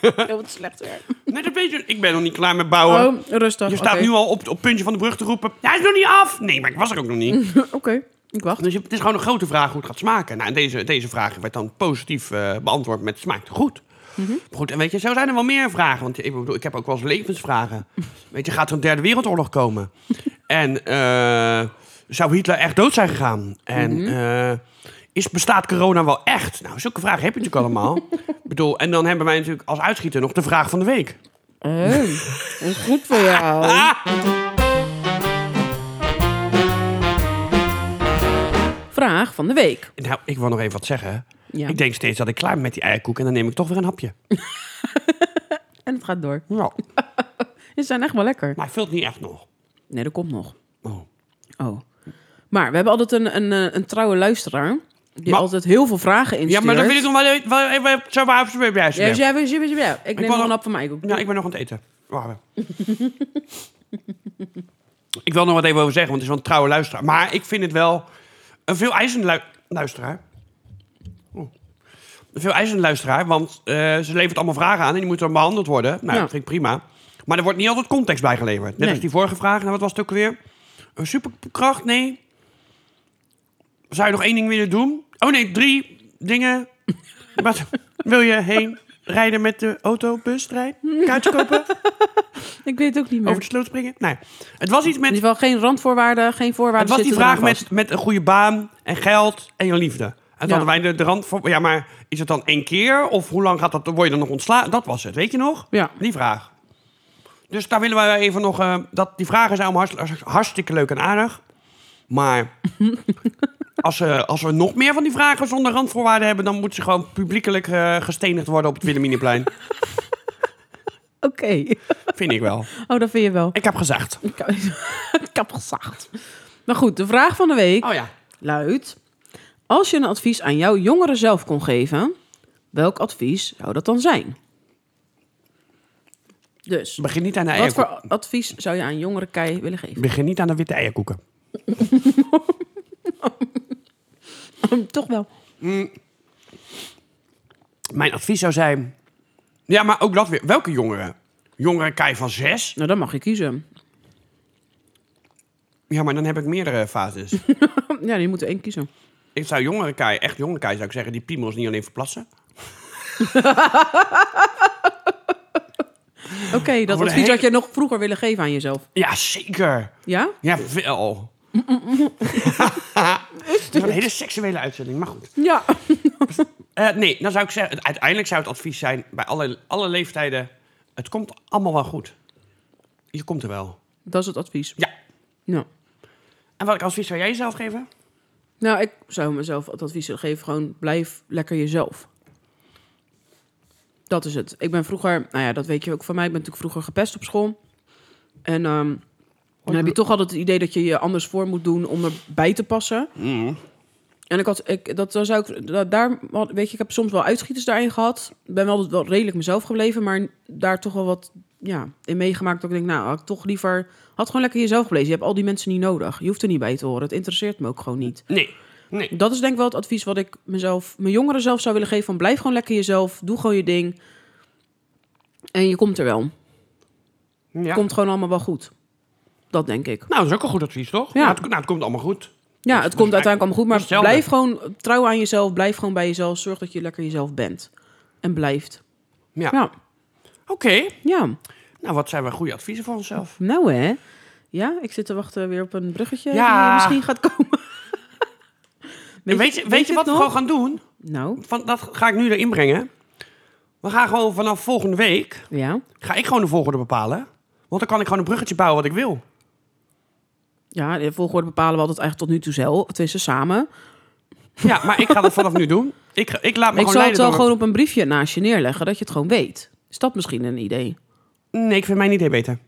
B: Heel wat slecht weer.
A: Nee, dat weet je. Ik ben nog niet klaar met bouwen.
B: Oh, rustig.
A: je staat
B: oké.
A: nu al op, op het puntje van de brug te roepen. Hij is nog niet af! Nee, maar ik was er ook nog niet.
B: Oké, ik wacht.
A: Dus je- het is gewoon een grote vraag hoe het gaat smaken. Nou, en deze, deze vraag werd dan positief eh, beantwoord met smaakt goed.
B: Mhm.
A: Maar Goed, en weet je, zo zijn er wel meer vragen. Want ik bedoel, ik heb ook wel eens levensvragen. Weet je, gaat er een derde wereldoorlog komen? en eh, zou Hitler echt dood zijn gegaan? En
B: Mhm.
A: eh, is, bestaat corona wel echt? Nou, zulke vragen heb je natuurlijk allemaal. Ik bedoel, en dan hebben wij natuurlijk als uitschieter nog de vraag van de week.
B: Oh, dat is goed voor jou. Vraag van de week.
A: Nou, ik wil nog even wat zeggen.
B: Ja.
A: Ik denk steeds dat ik klaar ben met die eierkoek en dan neem ik toch weer een hapje.
B: En het gaat door.
A: Ja,
B: Ze zijn echt wel lekker.
A: maar hij vult niet echt nog.
B: Nee, dat komt nog.
A: Oh.
B: Oh. Maar we hebben altijd een, een, eh, een trouwe luisteraar. Die
A: Maar-
B: altijd heel veel vragen instuurt.
A: Ja, maar dan wil ik nog wel even- wel even zo waar op zijn
B: Ja, ja, dus
A: blijven.
B: ja, ja, ja, ja. Ik
A: wou
B: neem nog een
A: nog-
B: hap van mij.
A: Ja, ik ben nog aan het eten. Wacht even. ik wil nog wat even over zeggen, want het is wel een trouwe luisteraar. Maar ik vind het wel een veel eisende lui- luisteraar. Oeh. Een veel eisende luisteraar, want eh, ze levert allemaal vragen aan en die moeten dan behandeld worden. Nou,
B: Ja.
A: dat vind ik prima. Maar er wordt niet altijd context bij geleverd. Net
B: Nee.
A: als die vorige vraag. Nou, wat was het ook weer? Een superkracht? Nee. Zou je nog één ding willen doen? Oh nee, drie dingen. Wat wil je heen? Rijden met de auto, bus, trein? Kaartje kopen?
B: Ik weet het ook niet meer.
A: Over de sloot springen? Nee. Het was iets
B: In
A: met...
B: ieder geval geen randvoorwaarden, geen
A: Het
B: voorwaarden.
A: was die
B: zitten
A: vraag
B: eraan vast.
A: met, met een goede baan en geld en je liefde. En toen
B: Ja.
A: hadden wij de, de rand voor... Ja, maar is het dan één keer? Of hoe lang gaat dat... Word je dan nog ontslagen? Dat was het, weet je nog?
B: Ja.
A: Die vraag. Dus daar willen wij even nog... eh, dat, die vragen zijn allemaal hartst- hartstikke leuk en aardig. Maar als, eh, als we nog meer van die vragen zonder randvoorwaarden hebben... dan moeten ze gewoon publiekelijk eh, gestenigd worden op het Wilhelminaplein.
B: Oké.
A: Vind ik wel.
B: Oh, dat vind je wel.
A: Ik heb gezegd.
B: Ik heb- Ik heb gezacht. Maar goed, de vraag van de week
A: Oh ja.
B: luidt... Als je een advies aan jouw jongere zelf kon geven... welk advies zou dat dan zijn? Dus,
A: Begin niet aan de
B: wat
A: eierkoek.
B: voor advies zou je aan jongere Kei willen geven?
A: Begin niet aan de witte eierkoeken.
B: Mm, Toch wel.
A: Mijn advies zou zijn... Ja, maar ook dat weer. Welke jongeren? Jongeren Kai van zes?
B: Nou, dan mag je kiezen.
A: Ja, maar dan heb ik meerdere fases.
B: Ja, die moeten één kiezen.
A: ik zou jongeren Kai, echt jongeren Kai zou ik zeggen... die piemels niet alleen verplassen.
B: Oké, dat
A: Over de
B: advies
A: hele-
B: had je nog vroeger willen geven aan jezelf.
A: Ja, zeker.
B: Ja?
A: Ja, veel. Het is een hele seksuele uitzending, maar goed.
B: Ja.
A: Eh, nee, dan zou ik zeggen... Uiteindelijk zou het advies zijn bij alle, alle leeftijden... het komt allemaal wel goed. Je komt er wel.
B: Dat is het advies. Nou.
A: Ja.
B: Ja.
A: En welk advies zou jij jezelf geven?
B: Nou, ik zou mezelf het advies willen geven: gewoon blijf lekker jezelf. Dat is het. Ik ben vroeger, nou ja, dat weet je ook van mij. Ik ben natuurlijk vroeger gepest op school. En ehm, dan heb je toch altijd het idee dat je je anders voor moet doen om erbij te passen. En ik had, ik, dat zou ik, dat, daar, had- weet je, ik heb soms wel uitschieters daarin gehad. Ik ben wel, altijd wel redelijk mezelf gebleven, maar daar toch wel wat ja, in meegemaakt. Dat ik denk, nou, had ik toch liever, had gewoon lekker jezelf geblezen. Je hebt al die mensen niet nodig. Je hoeft er niet bij te horen. Het interesseert me ook gewoon niet.
A: Nee. Nee.
B: Dat is denk ik wel het advies wat ik mezelf, mijn jongeren zelf zou willen geven. Van blijf gewoon lekker jezelf, doe gewoon je ding. En je komt er wel.
A: Ja.
B: Komt gewoon allemaal wel goed. Dat denk ik.
A: Nou, dat is ook een goed advies, toch?
B: Ja.
A: Nou, het, nou, het komt allemaal goed.
B: Ja, het komt uiteindelijk allemaal goed. Maar
A: hetzelfde.
B: blijf gewoon trouw aan jezelf. Blijf gewoon bij jezelf. Zorg dat je lekker jezelf bent. En blijft.
A: Ja.
B: Ja,
A: Oké.
B: ja.
A: Nou, wat zijn we goede adviezen voor onszelf?
B: nou hè. Ja, ik zit te wachten weer op een bruggetje die
A: Ja.
B: misschien gaat komen.
A: Weet, je, weet, je
B: het
A: wat we
B: nog?
A: gewoon gaan doen?
B: Nou,
A: Van, dat ga ik nu erin brengen. We gaan gewoon vanaf volgende week...
B: ja.
A: ga ik gewoon de volgorde bepalen. Want dan kan ik gewoon een bruggetje bouwen wat ik wil.
B: Ja, de volgorde bepalen we altijd eigenlijk tot nu toe zelf. Tenminste, samen.
A: Ja, maar ik ga dat vanaf nu doen. Ik, ga- ik laat me
B: Ik
A: gewoon
B: zal het
A: leiden
B: wel
A: door
B: gewoon op een briefje naast je neerleggen, dat je het gewoon weet. Is dat misschien een idee?
A: mijn- Nee, ik vind mijn idee beter.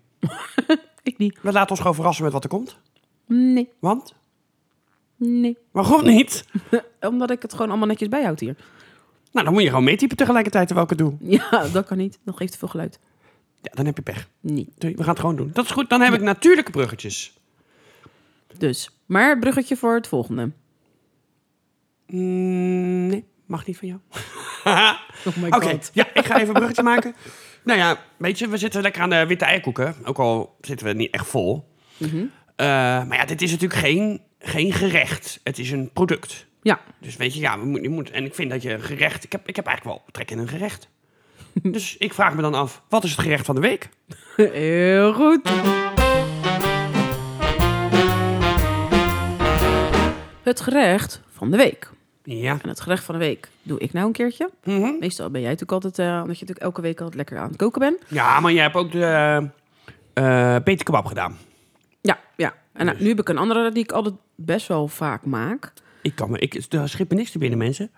B: Ik niet.
A: We laten ons gewoon verrassen met wat er komt.
B: Nee,
A: Want?
B: nee.
A: Waarom niet?
B: Omdat ik het gewoon allemaal netjes bijhoud hier.
A: Nou, dan moet je gewoon meetypen tegelijkertijd terwijl ik het doe.
B: Ja, dat kan niet. Dat geeft te veel geluid.
A: Ja, dan heb je pech.
B: Nee.
A: Doei, We gaan het gewoon doen. Dat is goed. Dan heb ik natuurlijke bruggetjes.
B: Dus, maar bruggetje voor het volgende.
A: Mm, nee, mag niet van jou.
B: Oh my
A: Oké,
B: god.
A: ja, ik ga even een bruggetje maken. Nou ja, weet je, we zitten lekker aan de witte eierkoeken. Ook al zitten we niet echt vol. Eh, maar ja, dit is natuurlijk geen, geen gerecht. Het is een product.
B: Ja,
A: Dus weet je, ja, we moet, je moet, en ik vind dat je een gerecht... Ik heb, ik heb eigenlijk wel trek in een gerecht. dus ik vraag me dan af, wat is het gerecht van de week?
B: heel goed. Het gerecht van de week.
A: Ja.
B: En het gerecht van de week doe ik nou een keertje.
A: Mhm.
B: Meestal ben jij natuurlijk altijd, eh, omdat je natuurlijk elke week altijd lekker aan het koken bent.
A: Ja, maar jij hebt ook de eh, eh, Peter Kebab gedaan.
B: Ja, ja. En nou, nu heb ik een andere die ik altijd best wel vaak maak.
A: Ik kan me... Ik, er schiet me niks te binnen, mensen.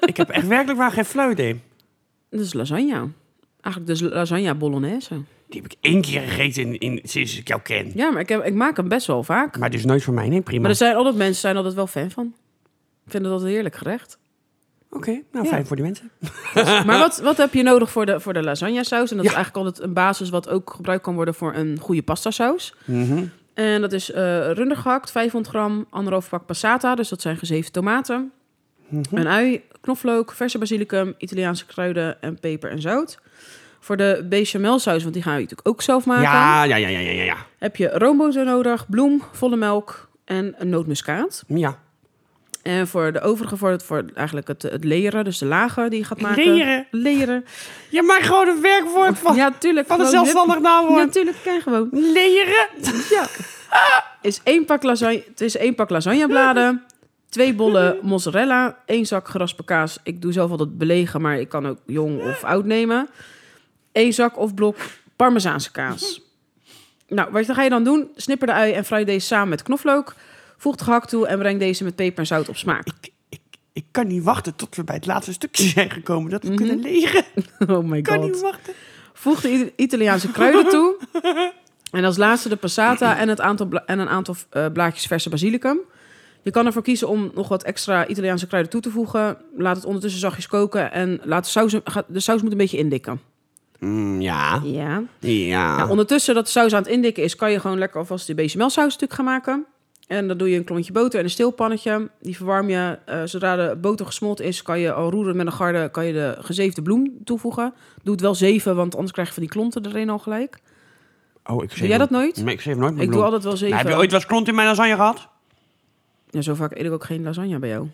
A: ik heb echt werkelijk waar geen fluit in.
B: Dat is lasagne. Eigenlijk dus lasagne bolognese.
A: Die heb ik één keer gegeten in, in, sinds ik jou ken.
B: Ja, maar ik, heb, ik maak hem best wel vaak.
A: Maar dus nooit voor mij, nee, prima.
B: Maar er zijn altijd mensen zijn altijd wel fan van. Vinden dat een heerlijk gerecht.
A: Oké, nou
B: Ja.
A: fijn voor die mensen.
B: Maar wat, wat heb je nodig voor de, voor de lasagne saus? En dat is
A: Ja.
B: eigenlijk altijd een basis wat ook gebruikt kan worden voor een goede pasta saus.
A: Mhm.
B: En dat is eh runder gehakt, 500 gram, anderhalf pak passata. Dus dat zijn gezeefde tomaten.
A: Mhm.
B: Een ui, knoflook, verse basilicum, Italiaanse kruiden en peper en zout. Voor de bechamel saus, want die ga je natuurlijk ook zelf maken.
A: Ja, ja, ja, ja, ja, ja, ja.
B: Heb je roomboter nodig, bloem, volle melk en een nootmuskaat.
A: Ja.
B: En voor de overige, voor, het, voor eigenlijk het, het leren, dus de lagen die je gaat maken.
A: Leren?
B: Leren.
A: Je maakt gewoon een werkwoord van,
B: ja, tuurlijk.
A: van een
B: gewoon
A: zelfstandig
B: hup. Ja,
A: naamwoord.
B: tuurlijk, kan je gewoon.
A: Leren.
B: Ja. Is één pak lasagne, het is één pak lasagnebladen, twee bollen mozzarella, één zak geraspen kaas. Ik doe zelf altijd belegen, maar ik kan ook jong of oud nemen. Eén zak of blok parmezaanse kaas. Nou, wat ga je dan doen? Snipper de ui en fry deze samen met knoflook. Voeg het gehakt toe en breng deze met peper en zout op smaak.
A: Ik, ik, ik kan niet wachten tot we bij het laatste stukje zijn gekomen. Dat we kunnen leren. Ik
B: Oh my
A: kan
B: god.
A: niet wachten.
B: Voeg de I- Italiaanse kruiden toe. En als laatste de passata en, het aantal bla- en een aantal eh, blaadjes verse basilicum. Je kan ervoor kiezen om nog wat extra Italiaanse kruiden toe te voegen. Laat het ondertussen zachtjes koken en laat de saus, ga- de saus moet een beetje indikken.
A: Mm, ja.
B: Ja.
A: Ja.
B: ondertussen dat de saus aan het indikken is, kan je gewoon lekker alvast die bechamelsaus natuurlijk gaan maken. En dan doe je een klontje boter en een steelpannetje. Die verwarm je. Eh, zodra de boter gesmolten is, kan je al roeren met een garde, kan je de gezeefde bloem toevoegen. Doe het wel zeven, want anders krijg je van die klonten erin al gelijk.
A: Oh, ik
B: Doe jij dat nooit?
A: Nee, ik schreef nooit mijn
B: Ik doe
A: bloem.
B: altijd wel zeven.
A: Nou, heb je ooit wel eens klont in mijn lasagne gehad?
B: ja, zo vaak eet ik ook geen lasagne bij jou.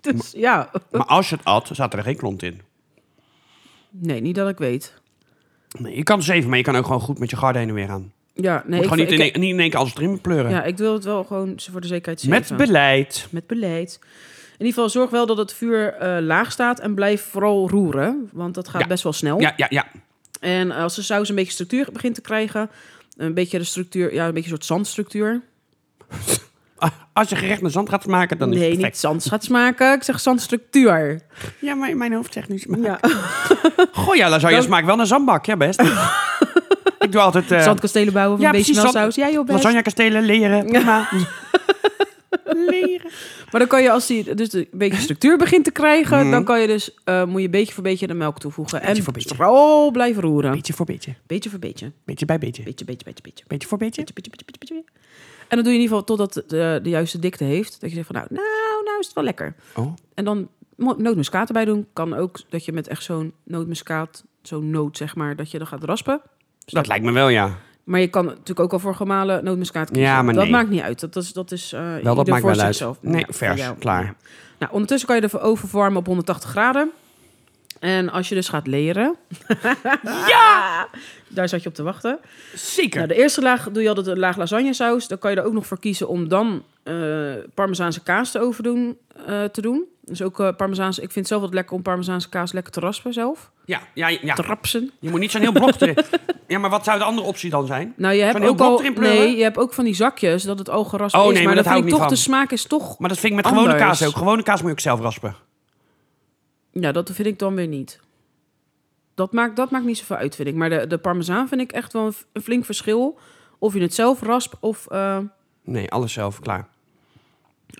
B: dus ja,
A: Maar als je het at, zat er geen klont in.
B: nee, niet dat ik weet.
A: Nee, je kan zeven, maar je kan ook gewoon goed met je garde heen en weer aan.
B: Ja, nee,
A: Moet
B: ik,
A: gewoon niet,
B: ik-
A: in, één- niet in één keer alles erin pleuren.
B: ja, ik wil het wel gewoon voor de zekerheid zeven.
A: Met beleid.
B: Met beleid. In ieder geval zorg wel dat het vuur eh, laag staat en blijf vooral roeren, want dat gaat
A: Ja.
B: best wel snel.
A: Ja, ja, ja.
B: En eh, als de saus een beetje structuur begint te krijgen, een beetje de structuur, ja, een beetje een soort zandstructuur.
A: Als je gerecht met zand gaat maken, dan is
B: nee,
A: het
B: niet
A: perfect.
B: zand gaat smaken. Ik zeg zandstructuur.
A: Ja, maar in mijn hoofd zegt nu smaak.
B: Ja.
A: Goh, ja, lasagne
B: Dan-
A: smaakt wel naar zandbak. Ja, best. ik doe altijd... eh
B: Zandkastelen bouwen van
A: ja,
B: ja,
A: precies,
B: bechamelsaus. Ja, joh, best.
A: lasagne kastelen, leren. Prima. leren.
B: Maar dan kan je als die dus een beetje structuur begint te krijgen, dan kan je dus eh, moet je beetje voor beetje de melk toevoegen en
A: voor beetje.
B: vooral blijven roeren.
A: Beetje voor beetje.
B: Beetje voor beetje.
A: Beetje bij beetje.
B: Beetje, beetje, beetje, beetje.
A: Beetje voor beetje.
B: Beetje, beetje, beetje, beetje, beetje. En dan doe je in ieder geval totdat het de, de juiste dikte heeft. Dat je zegt van nou, nou, nou is het wel lekker.
A: Oh.
B: En dan mo- nootmuskaat erbij doen. Kan ook dat je met echt zo'n nootmuskaat, zo'n noot zeg maar, dat je dan gaat raspen.
A: Dat lijkt me wel, ja.
B: Maar je kan natuurlijk ook al voor gemalen nootmuskaat kiezen.
A: Ja, maar
B: dat
A: nee.
B: maakt niet uit. Dat is, dat is eh
A: dat
B: ieder
A: maakt
B: voor
A: wel uit.
B: zichzelf.
A: Nee,
B: voor
A: vers,
B: jou.
A: klaar.
B: Ja. Nou, ondertussen kan je de oven verwarmen op 180 graden. En als je dus gaat leren... ja! Daar zat je op te wachten.
A: Zeker.
B: Nou, de eerste laag doe je altijd een laag lasagnesaus. Dan kan je er ook nog voor kiezen om dan eh parmezaanse kaas te overdoen eh, te doen. Dus ook eh parmezaanse. Ik vind het zelf wat lekker om parmezaanse kaas lekker te raspen zelf.
A: Ja, ja, ja.
B: Te rapsen.
A: Je moet niet zo'n heel blok te... Ja, maar wat zou de andere optie dan zijn?
B: Nou, je hebt
A: Zo'n heel
B: ook al
A: blok erin pleuren?
B: nee, je hebt ook van die zakjes dat het al gerast
A: Oh,
B: is.
A: nee, maar
B: maar
A: dat
B: dan
A: hou ik
B: vind ik
A: niet
B: toch de
A: van.
B: smaak is toch.
A: Maar dat vind ik met gewone
B: Anders.
A: kaas ook. Gewone kaas moet je ook zelf raspen.
B: Ja, dat vind ik dan weer niet. Dat maakt, dat maakt niet zoveel uit, vind ik. Maar de, de parmezaan vind ik echt wel een, f- een flink verschil. Of je het zelf raspt of. eh,
A: Nee, alles zelf. Klaar.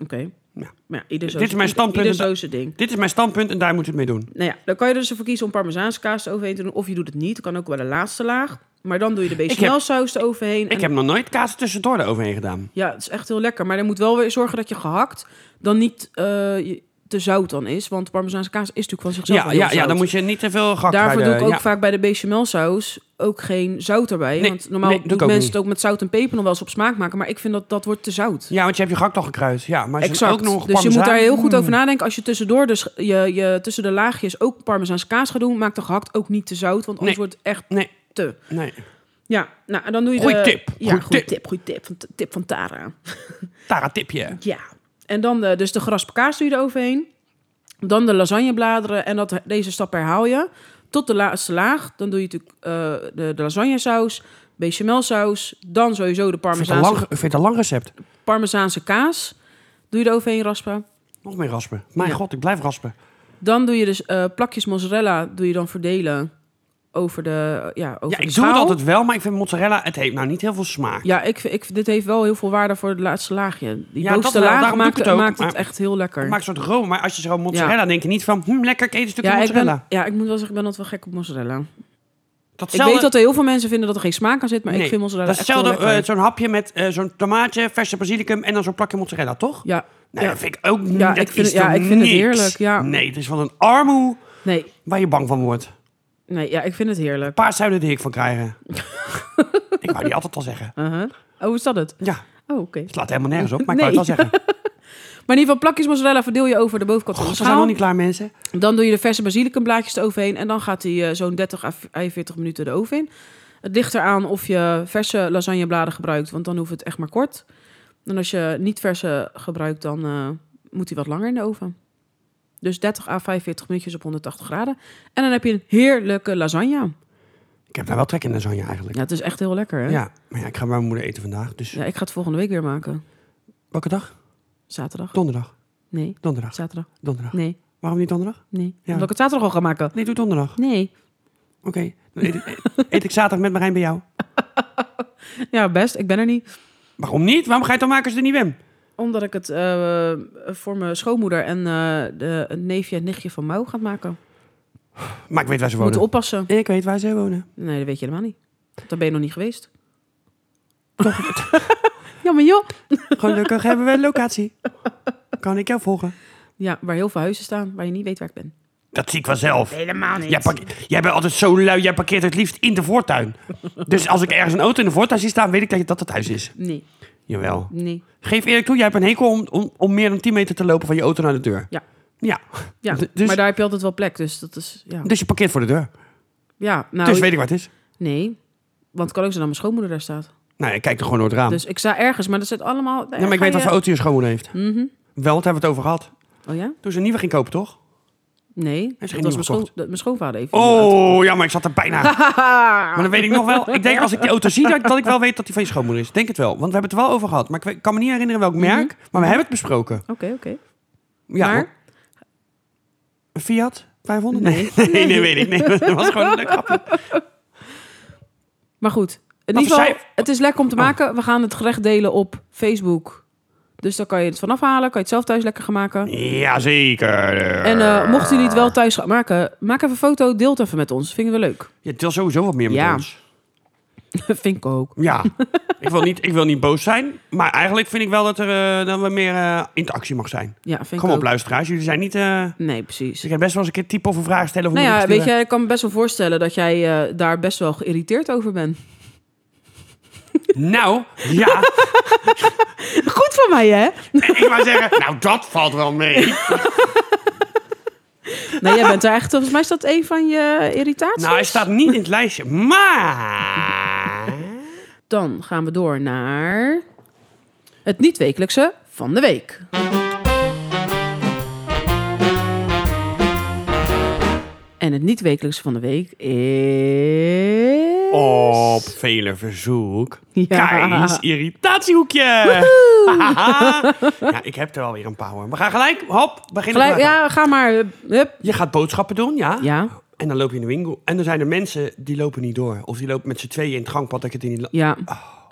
B: Oké.
A: Ja.
B: Maar ja, ieder zo
A: Dit is mijn
B: ieder-
A: standpunt.
B: Ieder zo zijn ding.
A: Dit is mijn standpunt en daar moet je het mee doen.
B: Nou ja, dan kan je er dus voor kiezen om parmezaanse kaas overheen te doen. Of je doet het niet. Dat kan ook wel de laatste laag. Maar dan doe je de bechamelsaus eroverheen.
A: Ik
B: en-
A: heb nog nooit kaas tussendoor eroverheen gedaan.
B: Ja, het is echt heel lekker. Maar dan moet wel weer zorgen dat je gehakt dan niet eh, je- te zout dan is. Want parmezaanse kaas is natuurlijk van zichzelf
A: Ja,
B: al heel
A: ja, ja,
B: zout.
A: dan moet je niet te veel gak
B: Daarvoor
A: bij
B: doe
A: de-
B: ik ook
A: ja.
B: vaak bij de bechamelsaus ook geen zout erbij.
A: Nee,
B: want normaal
A: nee, doe ik
B: doen
A: ook
B: mensen
A: niet.
B: het ook met zout en peper nog wel eens op smaak maken. Maar ik vind dat dat wordt te zout.
A: Ja, want je hebt je gak toch gekruid. Ja, maar is er
B: Exact.
A: ook nog Mm. Hmm.
B: dus je moet
A: parmezaan?
B: daar heel goed over nadenken. Als je tussendoor dus je, je tussen de laagjes ook parmezaanse kaas gaat doen, maak de gehakt ook niet te zout, want anders
A: Nee.
B: wordt het echt
A: Nee,
B: te.
A: nee.
B: Ja, nou en dan doe je
A: Goeie
B: de
A: tip.
B: Ja,
A: Goeie
B: goede
A: tip.
B: tip. goeie tip van tip van Tara.
A: Tara, tipje.
B: Ja. En dan de, dus de geraspe kaas doe je eroverheen. Dan de lasagnebladeren. En dat, deze stap herhaal je. Tot de laatste laag. Dan doe je natuurlijk eh, de, de lasagnesaus, bechamelsaus. Dan sowieso de
A: Ik vind het een
B: parmezaanse,
A: lang, ik vind het een lang recept.
B: parmezaanse kaas. Doe je eroverheen raspen.
A: Nog meer raspen. Mijn
B: Ja.
A: god, ik blijf raspen.
B: Dan doe je dus eh, plakjes mozzarella. Doe je dan verdelen over de eh, ja
A: Ja,
B: over de
A: ik doe het
B: schaal.
A: altijd wel, maar ik vind mozzarella... Het heeft nou niet heel veel smaak.
B: Ja, ik, vind- ik, vind- dit heeft wel heel veel waarde voor het laatste laagje. Die
A: Ja,
B: bovenste
A: dat wel.
B: laag
A: Daarom doe ik
B: maakt het,
A: het ook.
B: maakt het
A: Maar-
B: echt heel lekker.
A: Het maakt een soort room, maar als je zo mozzarella... denk je niet van, hm, lekker, ik eet een stukje
B: ja, ik
A: mozzarella.
B: ben, ja, ik moet wel zeggen, ik ben altijd wel gek op mozzarella. Ik
A: Datzelfde-
B: weet dat er heel veel mensen vinden dat er geen smaak aan zit, maar ik
A: Nee,
B: vind mozzarella
A: Dat
B: echt
A: is
B: wel
A: hetzelfde,
B: lekker.
A: eh, zo'n hapje met eh, zo'n tomaatje, verse basilicum... en dan zo'n plakje mozzarella, toch?
B: ja,
A: Nee,
B: ja.
A: dat vind ik ook niet.
B: Ja,
A: dat
B: ik vind
A: is
B: het- ja,
A: toch
B: ik vind het
A: niks?
B: heerlijk, ja.
A: Nee, het is van een armoe
B: nee,
A: waar je bang van wordt.
B: nee, ja, ik vind het heerlijk.
A: Paars zouden er ik van krijgen. ik wou die altijd al zeggen.
B: Uh-huh. Oh, is dat het?
A: Ja,
B: Oh, oké.
A: het slaat helemaal nergens op, maar ik wou het wel
B: Nee.
A: zeggen.
B: Maar in ieder geval, plakjes mozzarella verdeel je over de bovenkant van
A: Oh, We
B: de
A: zijn nog
B: schaal.
A: niet klaar, mensen.
B: Dan doe je de verse basilicum-blaadjes eroverheen en dan gaat die eh, zo'n 30 à 45 minuten de oven in. Het ligt eraan of je verse lasagnebladen gebruikt, want dan hoeft het echt maar kort. En als je niet verse gebruikt, dan eh, moet die wat langer in de oven. Dus 30 à 45 minuutjes op 180 graden. En dan heb je een heerlijke lasagne.
A: Ik heb daar wel trek in lasagne eigenlijk.
B: Ja, het is echt heel lekker, hè?
A: Ja, maar ja, ik ga bij mijn moeder eten vandaag. Dus
B: Ja, ik ga het volgende week weer maken.
A: welke dag?
B: Zaterdag.
A: Donderdag.
B: Nee.
A: Donderdag.
B: Zaterdag.
A: Donderdag.
B: Nee.
A: Waarom niet donderdag?
B: Nee. Omdat ik het zaterdag al ga maken.
A: Nee, doe donderdag.
B: Nee.
A: Oké. Dan eet ik, eet ik zaterdag met Marijn bij jou.
B: Ja, best. Ik ben er niet.
A: Waarom niet? Waarom ga je het dan maken als je er niet bent?
B: Omdat ik het eh, voor mijn schoonmoeder en eh, de, een neefje en nichtje van Mouw gaat maken.
A: Maar ik weet waar ze
B: We moeten
A: wonen.
B: oppassen.
A: Ik weet waar ze wonen.
B: Nee, dat weet je helemaal niet. Daar ben je nog niet geweest. ja, maar joh.
A: Gelukkig hebben we een locatie. Kan ik jou volgen?
B: Ja, waar heel veel huizen staan, waar je niet weet waar ik ben.
A: Dat zie ik wel zelf.
B: Helemaal niet.
A: Jij, park- jij bent altijd zo lui, jij parkeert het liefst in de voortuin. Dus als ik ergens een auto in de voortuin zie staan, weet ik dat je- dat het huis is.
B: Nee,
A: Jawel.
B: nee.
A: Geef eerlijk toe, jij hebt een hekel om, om, om meer dan 10 meter te lopen van je auto naar de deur.
B: Ja.
A: Ja.
B: Ja,
A: D- dus,
B: maar daar heb je altijd wel plek, dus dat is... Ja,
A: dus je parkeert voor de deur.
B: ja nou...
A: dus weet ik waar het is.
B: Nee, want het kan ook zijn dat mijn schoonmoeder daar staat.
A: Nou, ik kijk er gewoon door het raam.
B: Dus ik sta ergens, maar dat zit allemaal...
A: ja, maar ik weet wat voor auto je schoonmoeder heeft.
B: Mhm.
A: Wel, want daar hebben we het over gehad.
B: Oh ja?
A: Toen ze een nieuwe ging kopen, toch?
B: Nee,
A: Heeft ze geen
B: dat was
A: nieuwe
B: mijn,
A: gekocht?
B: schoon- dat- mijn schoonvader even.
A: Oh, ja, maar ik zat er bijna. maar dan weet ik nog wel. Ik denk als ik die auto zie, dat, ik- dat ik wel weet dat die van je schoonmoeder is. Denk het wel. Want we hebben het er wel over gehad. Maar ik weet- kan me niet herinneren welk merk. Maar we hebben het besproken.
B: Oké, oké.
A: Ja,
B: Mhm. maar...
A: hoor. Een Fiat 500?
B: Nee.
A: Nee, nee, weet ik. Nee, dat was gewoon een leuk grapje.
B: Maar goed, in
A: Wat
B: ieder geval,
A: zei- Oh.
B: het is lekker om te maken. We gaan het gerecht delen op Facebook. Dus daar kan je het vanaf halen. Kan je het zelf thuis lekker gaan maken.
A: Jazeker.
B: En eh, mochten jullie het wel thuis gaan maken, maak even een foto. Deel het even met ons. Vinden we leuk.
A: Je deelt sowieso wat meer met
B: Ja.
A: ons.
B: Vind ik ook.
A: Ja. ik, wil niet, ik wil niet boos zijn. Maar eigenlijk vind ik wel dat, er, eh, dat we meer eh, interactie mag zijn.
B: Ja, vind
A: Kom
B: ik
A: op,
B: ook.
A: luisteraars. Jullie zijn niet... eh
B: Nee, precies.
A: ze gaan best wel eens een keer typen of een vraag stellen. Of
B: Nou
A: een
B: ja, weet
A: bericht
B: je, ik kan me best wel voorstellen dat jij eh, daar best wel geïrriteerd over bent.
A: sturen. Nou, ja.
B: Goed van mij, hè?
A: ik wou zeggen, nou dat valt wel mee.
B: Nee, jij bent daar echt... Volgens mij is dat een van je irritaties.
A: Nou, hij staat niet in het lijstje, maar...
B: Dan gaan we door naar het niet-wekelijkse van de week. En het niet-wekelijkse van de week is...
A: Op vele verzoek.
B: Ja.
A: Kai's irritatiehoekje. Haha. ja, ik heb er alweer een paar hoor. We gaan gelijk, hop, beginnen.
B: Gelijk-
A: Gelijk,
B: ja, ga maar. Hup.
A: Je gaat boodschappen doen, ja?
B: Ja,
A: En dan loop je in de winkel. En dan zijn er mensen die lopen niet door. Of die lopen met z'n tweeën in het gangpad. Dat ik het in die... la-
B: ja.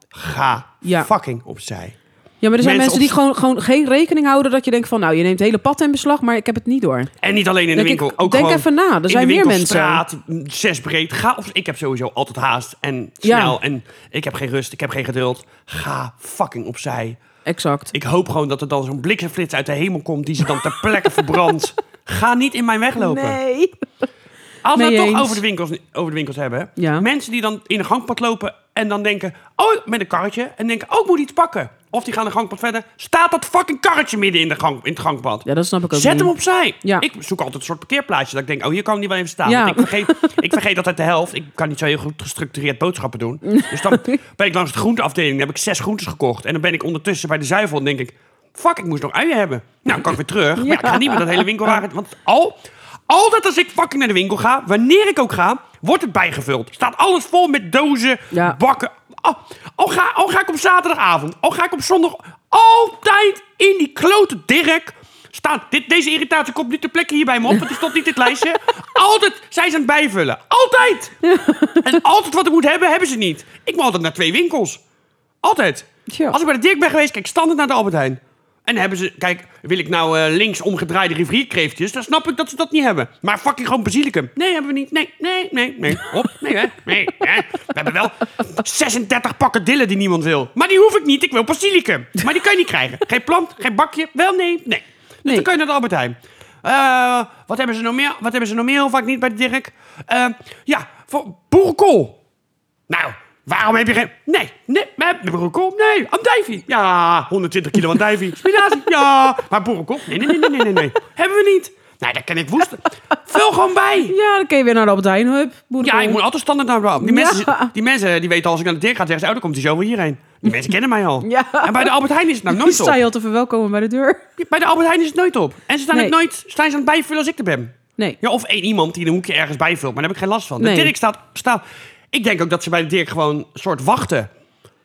A: Ga
B: Ja.
A: fucking opzij.
B: ja, maar er zijn
A: Mensen
B: mensen, die
A: op-
B: gewoon, gewoon geen rekening houden dat je denkt van... nou, je neemt het hele pad in beslag, maar ik heb het niet door.
A: En niet alleen in de
B: Denk ik,
A: winkel. ook
B: denk
A: gewoon
B: even na, er
A: in
B: zijn
A: de
B: meer mensen.
A: winkelstraat, zes breed. Ga op, ik heb sowieso altijd haast en snel. En ik heb geen rust, ik heb geen geduld. Ga fucking opzij.
B: exact.
A: Ik hoop gewoon dat er dan zo'n bliksemflits uit de hemel komt die ze dan ter plekke verbrandt. Ga niet in mijn weg lopen.
B: Nee.
A: Als we
B: Mee
A: het
B: eens.
A: toch over de winkels, over de winkels hebben. hè?
B: Ja.
A: Mensen die dan in een gangpad lopen en dan denken... Oh, met een karretje. En denken, oh, ik moet iets pakken. Of die gaan de gangpad verder. Staat dat fucking karretje midden in, de gang, in het gangpad?
B: Ja, dat snap ik ook
A: Zet
B: niet.
A: hem opzij.
B: Ja.
A: Ik zoek altijd een soort parkeerplaatsje. Dat ik denk, oh, hier kan die wel even staan.
B: Ja.
A: Want ik, vergeet, ik vergeet altijd de helft. Ik kan niet zo heel goed gestructureerd boodschappen doen. Dus dan ben ik langs de groenteafdeling. Dan heb ik zes groentes gekocht. En dan ben ik ondertussen bij de zuivel. En denk ik, fuck, ik moest nog uien hebben. Nou, dan kan ik weer terug. Maar ik ga niet met dat hele winkelwagen. Want al, altijd als ik fucking naar de winkel ga, wanneer ik ook ga, wordt het bijgevuld. Staat alles vol met dozen,
B: Ja.
A: bakken. Al, al ga, al ga ik op zaterdagavond, al ga ik op zondag. Altijd in die klote Dirk. Staan. Dit, deze irritatie komt niet ter plekke hier bij me op, want die stond niet in het lijstje. Altijd zijn ze aan het bijvullen. Altijd! En altijd wat ik moet hebben, hebben ze niet. Ik moet altijd naar twee winkels. Altijd.
B: Tja.
A: Als ik bij de Dirk ben geweest, kijk standaard naar de Albert Heijn. En dan hebben ze, kijk, wil ik nou eh, links omgedraaide rivierkreeftjes? Dan snap ik dat ze dat niet hebben. Maar fucking gewoon basilicum. Nee, hebben we niet. Nee, nee, nee, nee. Hop, nee, hè. nee. Hè. We hebben wel 36 pakken dillen die niemand wil. Maar die hoef ik niet, ik wil basilicum. Maar die kan je niet krijgen. Geen plant, geen bakje. Wel, nee, nee. Dus
B: Nee.
A: dan kan je naar de Albert Heijn. Eh, wat, hebben ze nog meer, wat hebben ze nog meer heel vaak niet bij de Dirk? Eh, ja, voor boerenkool. Nou, waarom heb je geen... Nee, nee, we hebben boerenkool. Nee, andijvie. Ja, 120 kilo andijvie. Spinazie, ja. Maar boerenkool? Nee, nee, nee, nee, nee, nee, nee. Hebben we niet. Nee, daar ken ik woest. Vul gewoon bij.
B: Ja, dan kun je weer naar de Albert Heijn, hup.
A: Ja,
B: boerenkool.
A: ik moet altijd standaard naar de Die
B: Ja.
A: mensen, die mensen die weten als ik naar de deur ga, zeggen ze... Oh, dan komt hij zo weer hierheen. Die mensen kennen mij al.
B: Ja.
A: En bij de Albert Heijn is het nou
B: Die
A: nooit
B: sta
A: op.
B: je al te verwelkomen bij de deur.
A: Bij de Albert Heijn is het nooit op. En ze staan
B: Nee.
A: het nooit... Staan ze aan het bijvullen als ik er ben.
B: Nee.
A: Ja, of één iemand die in een hoekje ergens bijvult. Maar daar heb ik geen last van.
B: Nee.
A: De Dirk staat, staat... Ik denk ook dat ze bij de Dirk gewoon een soort wachten.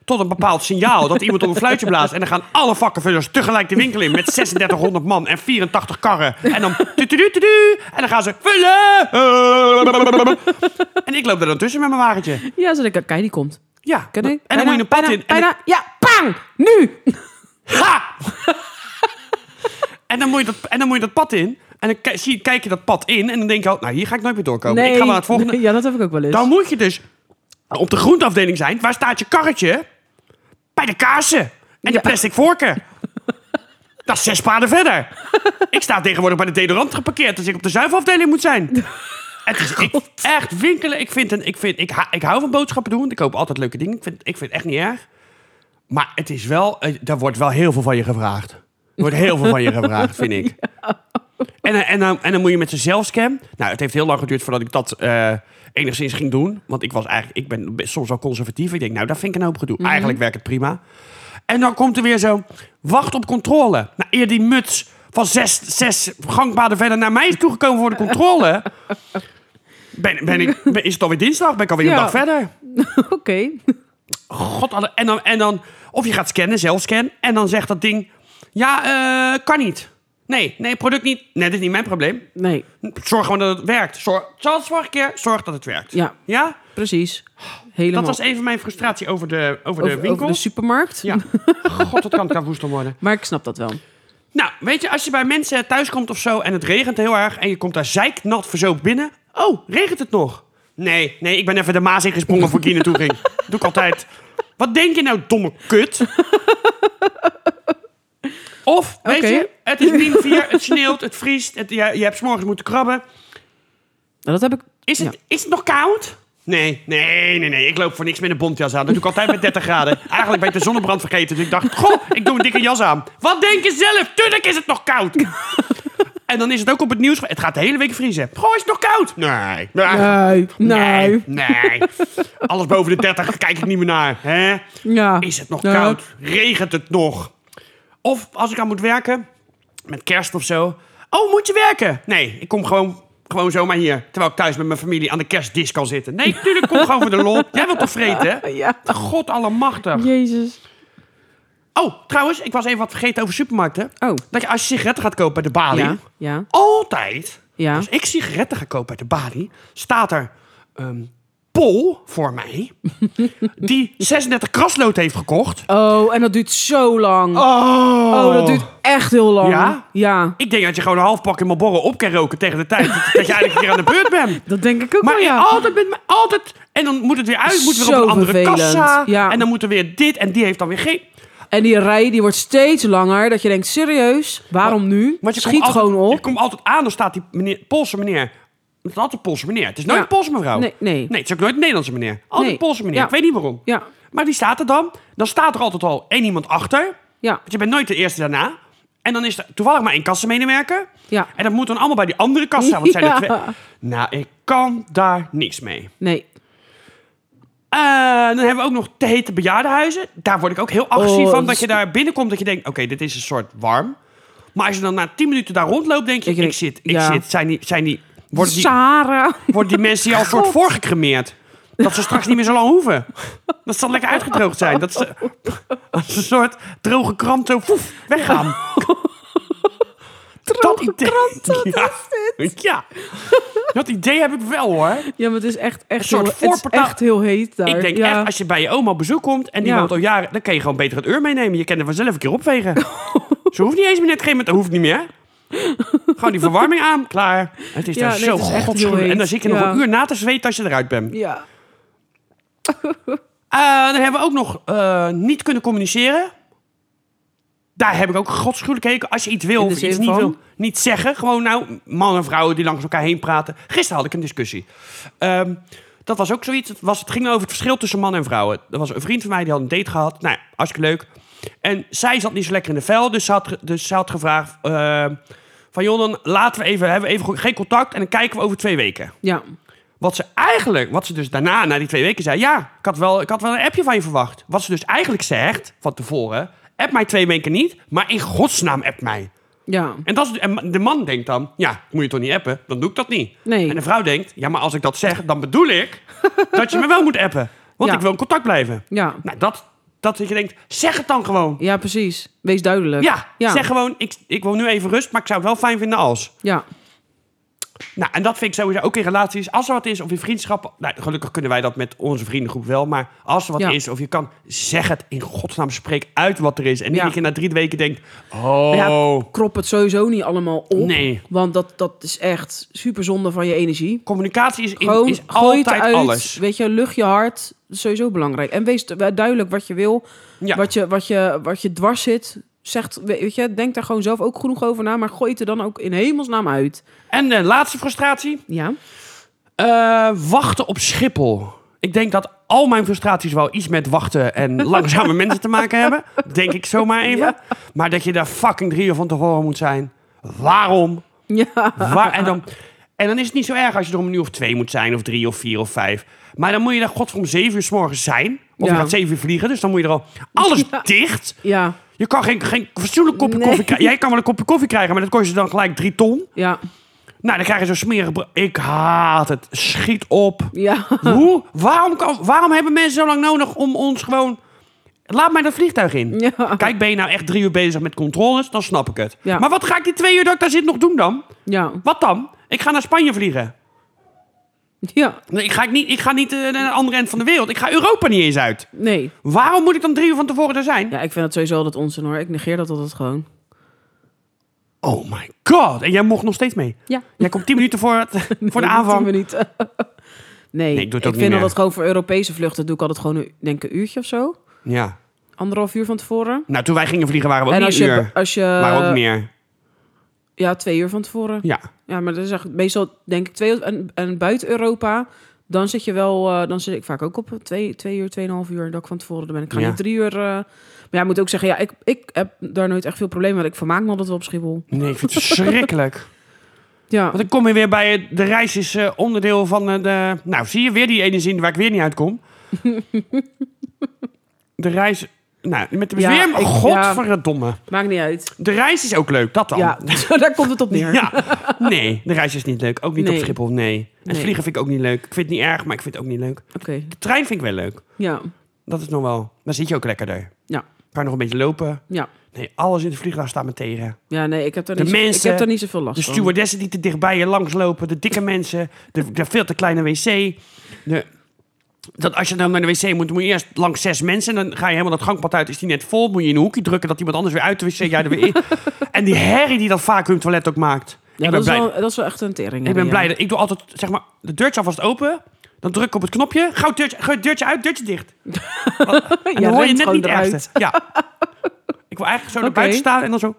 A: Tot een bepaald signaal dat iemand op een fluitje blaast. En dan gaan alle vakkenvullers tegelijk de winkel in. Met 3600 man en 84 karren. En dan... tututututu, En dan gaan ze... Vullen! En ik loop er dan tussen met mijn wagentje.
B: Ja, zodat ik, kijk, die komt.
A: Ja.
B: Ken ik?
A: En dan Oh, moet je een pad in. En
B: Bijna, ja, bang! Nu!
A: Ha! en, dan moet je dat, en dan moet je dat pad in. En dan ki- zie, kijk je dat pad in. En dan denk je al, nou hier ga ik nooit meer doorkomen. ik ga maar naar het volgende.
B: nee, ja, dat heb ik ook wel eens.
A: Dan moet je dus op de groenteafdeling zijn. Waar staat je karretje? Bij de kaarsen. En de plastic vorken. Dat is zes paden verder. Ik sta tegenwoordig bij de deodorant geparkeerd. Dus ik op de zuivelafdeling moet zijn. Het is ik, echt winkelen. Ik, vind een, ik, vind, ik, ha- ik hou van boodschappen doen. want Ik koop altijd leuke dingen. Ik vind, ik vind het echt niet erg. Maar het is wel, eh, daar wordt wel heel veel van je gevraagd. Er wordt heel veel van je gevraagd, vind ik. En, eh, en, dan, en dan moet je met zijn zelfscan. Nou, het heeft heel lang geduurd voordat ik dat eh, enigszins ging doen. Want ik was eigenlijk, ik ben best soms wel conservatief. Ik denk, nou, dat vind ik een hoop gedoe. Eigenlijk werkt het prima. En dan komt er weer zo, wacht op controle. Nou, eer die muts van zes, zes gangpaden verder naar mij is toegekomen voor de controle. Ben, ben ik, ben- is het alweer dinsdag? Ben ik alweer
B: Ja.
A: een dag verder?
B: Oké.
A: God, alle- en dan, en dan, of je gaat scannen, zelf scannen, en dan zegt dat ding, ja, eh, kan niet. Nee, nee, product niet. Nee, dit is niet mijn probleem.
B: Nee,
A: Zorg gewoon dat het werkt. Zorg, zoals vorige keer, zorg dat het werkt.
B: Ja.
A: Ja?
B: precies. Helemaal.
A: Dat was even mijn frustratie over de, over de
B: over,
A: winkel.
B: over de supermarkt.
A: ja. God, dat kan ik daar woest om worden.
B: Maar ik snap dat wel.
A: Nou, weet je, als je bij mensen thuis komt of zo en het regent heel erg en je komt daar zeiknat verzoopt binnen. Oh, regent het nog? Nee, nee, ik ben even de Maas ingesprongen voor ik hier naartoe ging. Doe ik altijd. Wat denk je nou, domme kut? Of, weet
B: Oké.
A: je, het is min 4, het sneeuwt, het vriest, het, je, je hebt 's morgens moeten krabben.
B: Nou, dat heb ik...
A: Is het, is het nog koud? Nee, nee, nee, nee. Ik loop voor niks met een bontjas aan. Dat doe ik altijd met 30 graden. Eigenlijk ben ik de zonnebrand vergeten. Dus ik dacht, goh, ik doe een dikke jas aan. Wat denk je zelf? Tuurlijk is het nog koud. En dan is het ook op het nieuws. Het gaat de hele week vriezen. Goh, is het nog koud? Nee. Nee.
B: Ja. Nee, Eh, nee.
A: Nee. nee. Alles boven de 30 kijk ik niet meer naar. Hè?
B: Ja. Nou,
A: Is het nog
B: Ja.
A: koud? Regent het nog? Of als ik aan moet werken, met kerst of zo. Oh, moet je werken? Nee, ik kom gewoon, gewoon zomaar hier. Terwijl ik thuis met mijn familie aan de kerstdis kan zitten. Nee, tuurlijk, kom gewoon voor de lol. Jij wilt toch vreten, hè?
B: Ja.
A: God allemachtig.
B: Jezus.
A: Oh, trouwens, ik was even wat vergeten over supermarkten.
B: Oh.
A: Dat je als je sigaretten gaat kopen bij de balie...
B: Ja. Ja.
A: Altijd,
B: Ja.
A: als ik sigaretten ga kopen bij de balie... staat er ehm Pol voor mij... die 36 kraslood heeft gekocht...
B: Oh, en dat duurt zo lang. Oh, dat duurt echt heel lang.
A: Ja?
B: Ja.
A: Ik denk dat je gewoon een half pak in Marlboro op kan roken tegen de tijd dat, dat je eigenlijk weer aan de beurt bent.
B: Dat denk ik ook
A: Maar
B: wel, Oh, ja.
A: altijd met me, altijd. En dan moet het weer uit, moet weer op
B: Zo
A: een andere
B: vervelend.
A: kassa.
B: Ja.
A: En dan moet er weer dit en die heeft dan weer geen.
B: En die rij die wordt steeds langer. Dat je denkt, serieus, waarom nu?
A: Want je
B: Schiet
A: komt altijd-
B: gewoon op.
A: Je komt altijd aan, dan staat die meneer, Poolse meneer. Het is altijd een Poolse meneer. Het is nooit
B: Ja.
A: een Poolse mevrouw.
B: Nee, nee.
A: het is ook nooit een Nederlandse meneer. Altijd
B: Nee.
A: een Poolse meneer.
B: Ja.
A: Ik weet niet waarom.
B: Ja,
A: Maar die staat er dan. Dan staat er altijd al één iemand achter.
B: ja,
A: Want je bent nooit de eerste daarna. En dan is er toevallig maar één kassenmedewerker.
B: ja.
A: En dat moet dan allemaal bij die andere kassa. Want het zijn er
B: Ja.
A: twee. Nou, ik kan daar niks mee.
B: Nee.
A: Eh, dan hebben we ook nog te hete bejaardenhuizen. Daar word ik ook heel agressief
B: Oh,
A: van.
B: dat
A: Dat
B: is-
A: je daar binnenkomt dat je denkt, oké, dit is een soort warm. Maar als je dan na tien minuten daar rondloopt, denk je,
B: Ik
A: ik,
B: denk,
A: zit, ik
B: ja.
A: zit. Zijn die, zijn die, worden, die,
B: Sarah.
A: worden die mensen hier al soort
B: God.
A: voorgecremeerd? Dat ze straks niet meer zo lang hoeven. Dat ze dan lekker uitgedroogd zijn. Dat ze als een soort droge krant zo foef, weggaan. Droge idee, krant, ja. Ja, dat idee heb ik wel hoor.
B: Ja, maar het is echt, echt,
A: soort
B: heel, het is
A: voorportaal.
B: echt heel heet daar.
A: Ik denk
B: Nou, ja.
A: echt, als je bij je oma op bezoek komt en die
B: Ja.
A: woont al jaren, dan kan je gewoon beter het uur meenemen. Je kan er vanzelf een keer opvegen. Ze hoeft niet eens meer net geen moment, dat hoeft niet meer. Gewoon die verwarming aan, klaar. Het is
B: Ja,
A: daar
B: nee,
A: zo
B: het is echt heel
A: godschuwelijk. En dan
B: heet.
A: zit je nog
B: Ja.
A: een uur na te zweten als je eruit bent.
B: Ja.
A: Eh, dan hebben we ook nog eh, niet kunnen communiceren. Daar heb ik ook godschuwelijk gekeken. Als je iets wil
B: In de
A: of iets
B: zin
A: niet
B: van?
A: wil, niet zeggen. Gewoon nou, mannen en vrouwen die langs elkaar heen praten. Gisteren had ik een discussie. Ehm, dat was ook zoiets. Het, was, het ging over het verschil tussen mannen en vrouwen. Er was een vriend van mij die had een date gehad. Nou, ja, hartstikke leuk. En zij zat niet zo lekker in de vel. Dus ze had, ge- dus ze had gevraagd... ehm, van joh, dan laten we even, hebben we even go- geen contact... en dan kijken we over twee weken.
B: Ja.
A: Wat ze eigenlijk, wat ze dus daarna, na die twee weken, zei: Ja, ik had wel, ik had wel een appje van je verwacht. Wat ze dus eigenlijk zegt van tevoren: App mij twee weken niet, maar in godsnaam app mij.
B: Ja.
A: En, dat is, en de man denkt dan: Ja, moet je toch niet appen? Dan doe ik dat niet.
B: Nee.
A: En de vrouw denkt: Ja, maar als ik dat zeg, dan bedoel ik dat je me wel moet appen. Want
B: Ja.
A: ik wil in contact blijven.
B: Ja.
A: Nou, dat, dat je denkt: Zeg het dan gewoon.
B: Ja, precies. Wees duidelijk.
A: Ja,
B: Ja.
A: zeg gewoon: ik, ik wil nu even rust, maar ik zou het wel fijn vinden als.
B: Ja.
A: Nou, en dat vind ik sowieso ook in relaties. Als er wat is of in vriendschappen. Nou, gelukkig kunnen wij dat met onze vriendengroep wel. Maar als er wat
B: Ja.
A: is of je kan, zeg het in godsnaam. Spreek uit wat er is. En niet
B: Ja.
A: dat je na drie weken denkt: Oh,
B: Ja, krop het sowieso niet allemaal op.
A: Nee.
B: Want dat, dat is echt super zonde van je energie.
A: communicatie is, in-
B: Gewoon
A: is
B: gooi het
A: altijd
B: uit.
A: alles.
B: Weet je, lucht je hart. Dat is sowieso belangrijk. En wees du- duidelijk wat je wil.
A: Ja.
B: Wat, je, wat, je, wat je dwars zit. Zegt, weet je, denk daar gewoon zelf ook genoeg over na. Maar gooi het er dan ook in hemelsnaam uit.
A: En de laatste frustratie:
B: Ja.
A: eh, wachten op Schiphol. Ik denk dat al mijn frustraties wel iets met wachten en langzame mensen te maken hebben. Denk ik zomaar even.
B: Ja.
A: Maar dat je daar fucking drie uur van tevoren moet zijn. Waarom?
B: Ja.
A: Waar, en, dan, en dan is het niet zo erg als je er om een uur of twee moet zijn, of drie of vier of vijf. Maar dan moet je daar god om zeven uur s morgens zijn. Of
B: Ja.
A: je gaat zeven uur vliegen, dus dan moet je er al alles dicht.
B: Ja.
A: Je kan geen, geen fatsoenlijk kopje
B: Nee.
A: koffie krijgen. Jij kan wel een kopje koffie krijgen, maar dat kost je dan gelijk drie ton.
B: Ja.
A: Nou, dan krijg je zo'n smerig... bro- Ik haat het. Schiet op.
B: Ja.
A: Hoe? Waarom, kan, waarom hebben mensen zo lang nodig om ons gewoon... Laat mij dat vliegtuig in.
B: Ja.
A: Kijk, ben je nou echt drie uur bezig met controles? Dan snap ik het.
B: Ja.
A: Maar wat ga ik die twee uur dat ik daar zit nog doen dan?
B: Ja.
A: Wat dan? Ik ga naar Spanje vliegen.
B: Ja.
A: Nee, ik ga niet, ik ga niet eh, naar de andere end van de wereld. Ik ga Europa niet eens uit.
B: Nee.
A: Waarom moet ik dan drie uur van tevoren er zijn?
B: Ja, ik vind dat sowieso altijd onzin hoor. Ik negeer dat altijd gewoon.
A: Oh my god. En jij mocht nog steeds mee.
B: Ja.
A: Jij komt tien minuten voor, het, voor de
B: Doen
A: aanvang.
B: we niet. nee,
A: Nee, ik doe het ook niet
B: vind
A: meer.
B: altijd gewoon voor Europese vluchten doe ik altijd gewoon een, denk een uurtje of zo.
A: Ja.
B: Anderhalf uur van tevoren.
A: Nou, toen wij gingen vliegen waren we ook
B: en
A: niet
B: als
A: een
B: je, eh,
A: uur.
B: als je...
A: maar ook meer.
B: Ja, twee uur van tevoren. Ja,
A: Ja.
B: maar dat is echt, meestal denk ik twee en, en buiten Europa... Dan zit je wel, eh, dan zit ik vaak ook op twee, twee uur, tweeënhalf uur dat ik van tevoren er ben. Ik ga
A: Ja.
B: niet drie uur. eh, maar ja, ik moet ook zeggen, ja, ik, ik heb daar nooit echt veel problemen. Want ik vermaak me altijd wel op Schiphol.
A: Nee, ik vind het verschrikkelijk.
B: Ja,
A: Want ik kom hier weer bij eh, de reis is eh, onderdeel van eh, de... Nou, zie je weer die ene zin waar ik weer niet uitkom. de reis... Nou, met de
B: Ja,
A: weer...
B: ik-
A: Godverdomme.
B: maakt niet uit.
A: De reis is ook leuk, dat dan.
B: Ja, daar komt het op neer.
A: Ja, nee, de reis is niet leuk. Ook niet
B: Nee.
A: op Schiphol, nee. En het
B: Nee.
A: vliegen vind ik ook niet leuk. Ik vind het niet erg, maar ik vind het ook niet leuk.
B: Oké,
A: De trein vind ik wel leuk.
B: ja,
A: Dat is nog wel... Dan zit je ook lekkerder.
B: Ja.
A: Kan je nog een beetje lopen.
B: ja.
A: Nee, alles in de vliegtuig staat me tegen.
B: Ja, nee, ik heb daar,
A: De
B: niet, zo- ik
A: mensen,
B: heb daar niet zoveel last
A: De
B: van.
A: stewardessen die te dichtbij je langslopen. De dikke mensen. De, de veel te kleine wc. De, dat als je dan naar de wc moet, moet je eerst langs zes mensen. En dan ga je helemaal dat gangpad uit. Is die net vol? Moet je in een hoekje drukken dat iemand anders weer uit de wc... Jij er weer in. en die herrie die dat vacuümtoilet ook maakt.
B: Ja,
A: ik ben
B: dat,
A: blij
B: is wel, dat is wel echt een tering.
A: Ik ben
B: ja.
A: blij dat ik doe altijd, zeg maar, de deurtje alvast open. Dan druk ik op het knopje, gauw deurtje, gauw deurtje uit, deurtje dicht. En dan hoor je
B: rent
A: net
B: gewoon
A: niet
B: eruit.
A: echt. Ja. Ik wil eigenlijk zo naar
B: Oké.
A: buiten staan en dan zo...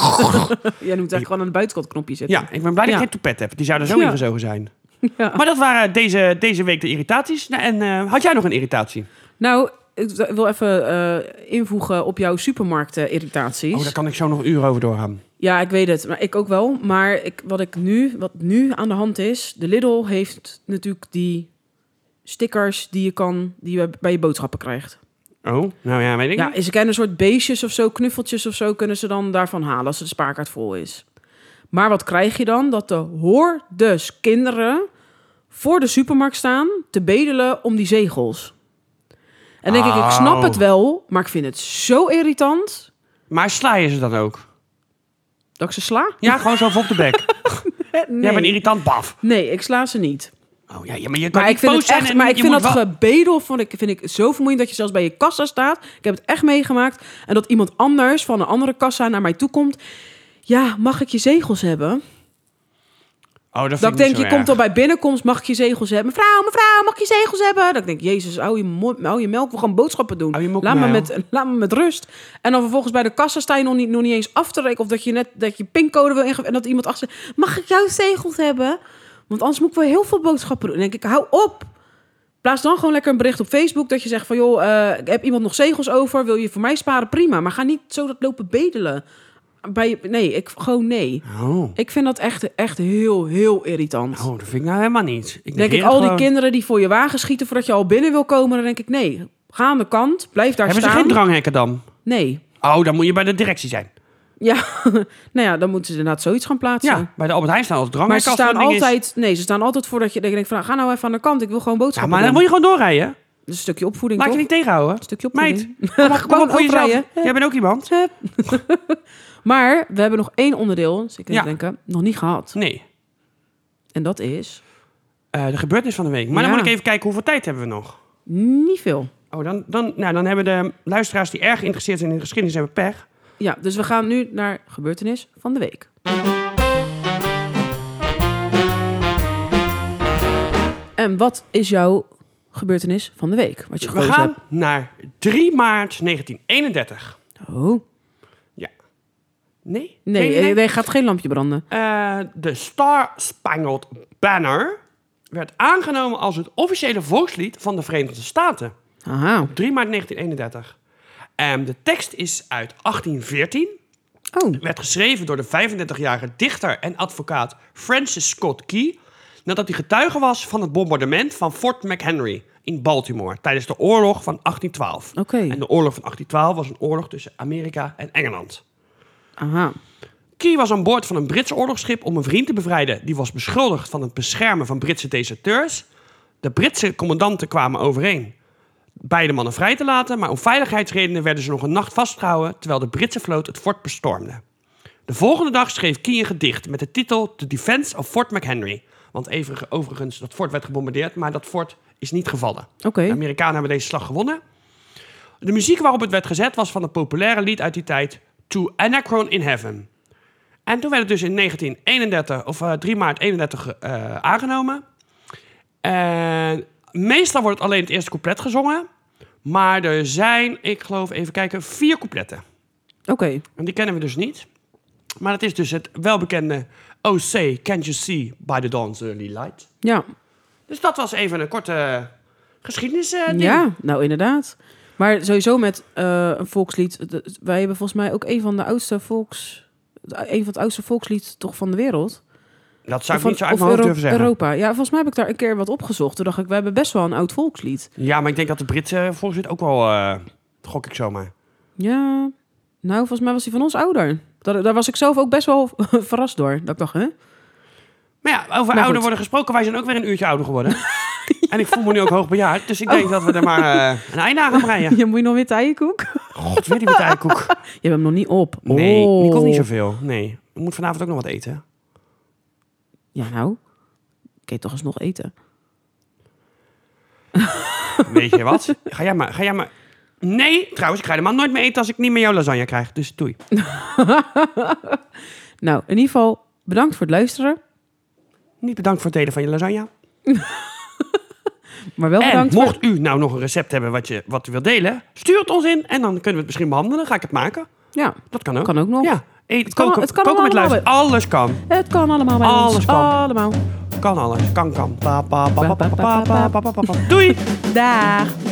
B: Jij moet eigenlijk gewoon aan de buitenkant knopje zitten.
A: Ja, ik ben blij dat
B: Ja.
A: ik geen toepet heb. Die zou er zo
B: Ja.
A: ingezogen zijn.
B: Ja.
A: Maar dat waren deze, deze week de irritaties. Nou, en eh, had jij nog een irritatie?
B: Nou, ik d- wil even eh, invoegen op jouw supermarkt-irritaties.
A: Oh, daar kan ik zo nog een uur over doorgaan.
B: Ja, ik weet het. Maar ik ook wel. Maar ik, wat, ik nu, wat nu aan de hand is... De Lidl heeft natuurlijk die stickers die je, kan, die je bij je boodschappen krijgt.
A: Oh, nou ja, weet ik
B: Ja,
A: niet.
B: ze kennen een soort beestjes of zo, knuffeltjes of zo... kunnen ze dan daarvan halen als de spaarkaart vol is. Maar wat krijg je dan? Dat de hoordes kinderen voor de supermarkt staan... te bedelen om die zegels. En denk ik, ik snap
A: Au.
B: het wel, maar ik vind het zo irritant...
A: Maar sla je ze dan ook?
B: dat ik ze sla.
A: Ja, gewoon zo op de bek.
B: Nee.
A: Jij bent irritant, baf.
B: Nee, ik sla ze niet.
A: Oh ja, ja, maar je kan niet
B: Maar ik vind
A: boos
B: het
A: zijn
B: echt,
A: en
B: maar
A: je
B: ik vind
A: moet
B: dat
A: wel-
B: gebedel vond ik, vind ik zo vermoeiend dat je zelfs bij je kassa staat. Ik heb het echt meegemaakt. En dat iemand anders van een andere kassa naar mij toe komt. Ja, mag ik je zegels hebben?
A: Oh, dat vind
B: Dat
A: ik
B: ik
A: niet
B: denk,
A: zo
B: je
A: erg.
B: komt al bij binnenkomst, mag ik je zegels hebben? Mevrouw, mevrouw, mag ik je zegels hebben? Dat ik denk, jezus, hou je, mo- hou je melk, we gaan boodschappen doen.
A: Hou je mok
B: laat, me
A: maar,
B: met, laat me met rust. En dan vervolgens bij de kassa sta je nog niet, nog niet eens af te rekenen... of dat je net dat je pincode wil ingeven en dat iemand achter zegt... mag ik jouw zegels hebben? Want anders moet ik wel heel veel boodschappen doen. En dan denk ik, hou op! Plaats dan gewoon lekker een bericht op Facebook dat je zegt van... joh, eh, ik heb iemand nog zegels over, wil je voor mij sparen? Prima, maar ga niet zo dat lopen bedelen. Bij, nee, ik, gewoon nee.
A: Oh.
B: Ik vind dat echt, echt heel, heel irritant.
A: oh, dat vind ik nou helemaal niet. Ik
B: denk ik, al die kinderen die voor je wagen schieten voordat je al binnen wil komen, dan denk ik, nee, ga aan de kant, blijf daar
A: Hebben ze
B: staan.
A: geen dranghekken dan?
B: nee.
A: Oh, dan moet je bij de directie zijn.
B: Ja, nou ja, dan moeten ze inderdaad zoiets gaan plaatsen.
A: Ja, bij de Albert Heijn staan als
B: Maar
A: dranghekken.
B: ze
A: als
B: staan
A: er een ding is.
B: altijd, nee, ze staan altijd voordat je denkt van, ga nou even aan de kant, ik wil gewoon
A: Ja,
B: boodschappen
A: maar dan
B: doen.
A: moet je gewoon doorrijden.
B: Dus een stukje opvoeding,
A: Laat je
B: toch?
A: niet tegenhouden.
B: Een stukje
A: Meid,
B: opvoeding.
A: kom maar
B: Gewoon
A: gewoon voor jezelf.
B: uitrijden.
A: Jij bent ook iemand.
B: Maar we hebben nog één onderdeel, dus ik
A: Ja.
B: denken, nog niet gehad.
A: Nee.
B: En dat is
A: Eh, de gebeurtenis van de week. Maar dan
B: Ja.
A: moet ik even kijken hoeveel tijd hebben we nog.
B: niet veel.
A: Oh, dan, dan, nou, dan hebben de luisteraars die erg geïnteresseerd zijn in de geschiedenis hebben pech.
B: Ja, dus we gaan nu naar gebeurtenis van de week. En wat is jouw gebeurtenis van de week? Wat je
A: We
B: gekozen
A: gaan naar 3 maart 1931.
B: hebt? Oh.
A: Nee?
B: Nee,
A: Geen idee?
B: nee, gaat geen lampje branden.
A: Eh, de Star Spangled Banner werd aangenomen als het officiële volkslied van de Verenigde Staten.
B: Aha.
A: 3 maart 1931. En de tekst is uit 1814.
B: Oh.
A: werd geschreven door de 35-jarige dichter en advocaat Francis Scott Key... nadat hij getuige was van het bombardement van Fort McHenry in Baltimore... tijdens de oorlog van 1812.
B: Oké.
A: En de oorlog van 1812 was een oorlog tussen Amerika en Engeland.
B: Aha.
A: Key was aan boord van een Brits oorlogsschip om een vriend te bevrijden... die was beschuldigd van het beschermen van Britse deserteurs. De Britse commandanten kwamen overeen beide mannen vrij te laten... maar om veiligheidsredenen werden ze nog een nacht vastgehouden... terwijl de Britse vloot het fort bestormde. De volgende dag schreef Key een gedicht met de titel The Defense of Fort McHenry. Want even- overigens, dat fort werd gebombardeerd, maar dat fort is niet gevallen.
B: Oké.
A: De Amerikanen hebben deze slag gewonnen. De muziek waarop het werd gezet was van het populaire lied uit die tijd To Anacron in Heaven. En toen werd het dus in 1931, of eh, 3 maart 31 eh, aangenomen. En meestal wordt alleen het eerste couplet gezongen. Maar er zijn, ik geloof, even kijken, vier coupletten.
B: Oké.
A: En die kennen we dus niet. Maar het is dus het welbekende Oh say, can't you see by the dawn's early light.
B: Ja.
A: Dus dat was even een korte eh, geschiedenis eh, ding.
B: Ja, nou inderdaad. Maar sowieso met eh, een volkslied. de- wij hebben volgens mij ook een van de oudste volks... Een van het oudste volkslied toch van de wereld.
A: Dat zou ik
B: Van-
A: niet zo uit mijn
B: of
A: hoofd
B: Euro-
A: durven zeggen.
B: Europa. Ja, volgens mij heb ik daar een keer wat opgezocht. Toen dacht ik, we hebben best wel een oud volkslied.
A: Ja, maar ik denk dat de Britse voorzitter ook wel... eh, gok ik zomaar.
B: Ja, nou, volgens mij was die van ons ouder. Daar, daar was ik zelf ook best wel verrast door. Dat ik dacht, hè?
A: Maar ja, over
B: goed.
A: ouder worden gesproken. Wij zijn ook weer een uurtje ouder geworden. En ik voel me nu ook hoogbejaard. Dus ik
B: Oh.
A: denk dat we er maar eh, een einde aan gaan breien.
B: Je moet je nog weer tijdenkoek?
A: God, weer die witte eikoek.
B: Je hebt hem nog niet op.
A: Nee, die komt
B: Oh.
A: niet zoveel. Nee, ik moet vanavond ook nog wat eten.
B: Ja, nou. Ik eet toch eens nog eten.
A: Weet je wat? Ga jij maar, ga jij maar. Nee, trouwens, ik ga helemaal nooit meer eten als ik niet meer jouw lasagne krijg. Dus doei.
B: Nou, in ieder geval, bedankt voor het luisteren.
A: Niet bedankt voor het delen van je lasagne.
B: Maar wel
A: En
B: bedankt. voor-
A: mocht u nou nog een recept hebben wat, je, wat u wilt delen, stuur het ons in en dan kunnen we het misschien behandelen. Dan ga ik het maken.
B: Ja,
A: Dat kan ook.
B: kan ook nog.
A: Ja. Eet,
B: kan-
A: koken,
B: het kan
A: koken met
B: allemaal
A: luister. Alles kan.
B: Het kan allemaal bij
A: Alles
B: ons.
A: kan.
B: Allemaal.
A: Kan alles. Kan, kan. Pa, pa, pa, pa, pa, pa, pa, pa, pa, pa, pa. Doei!
B: Daag.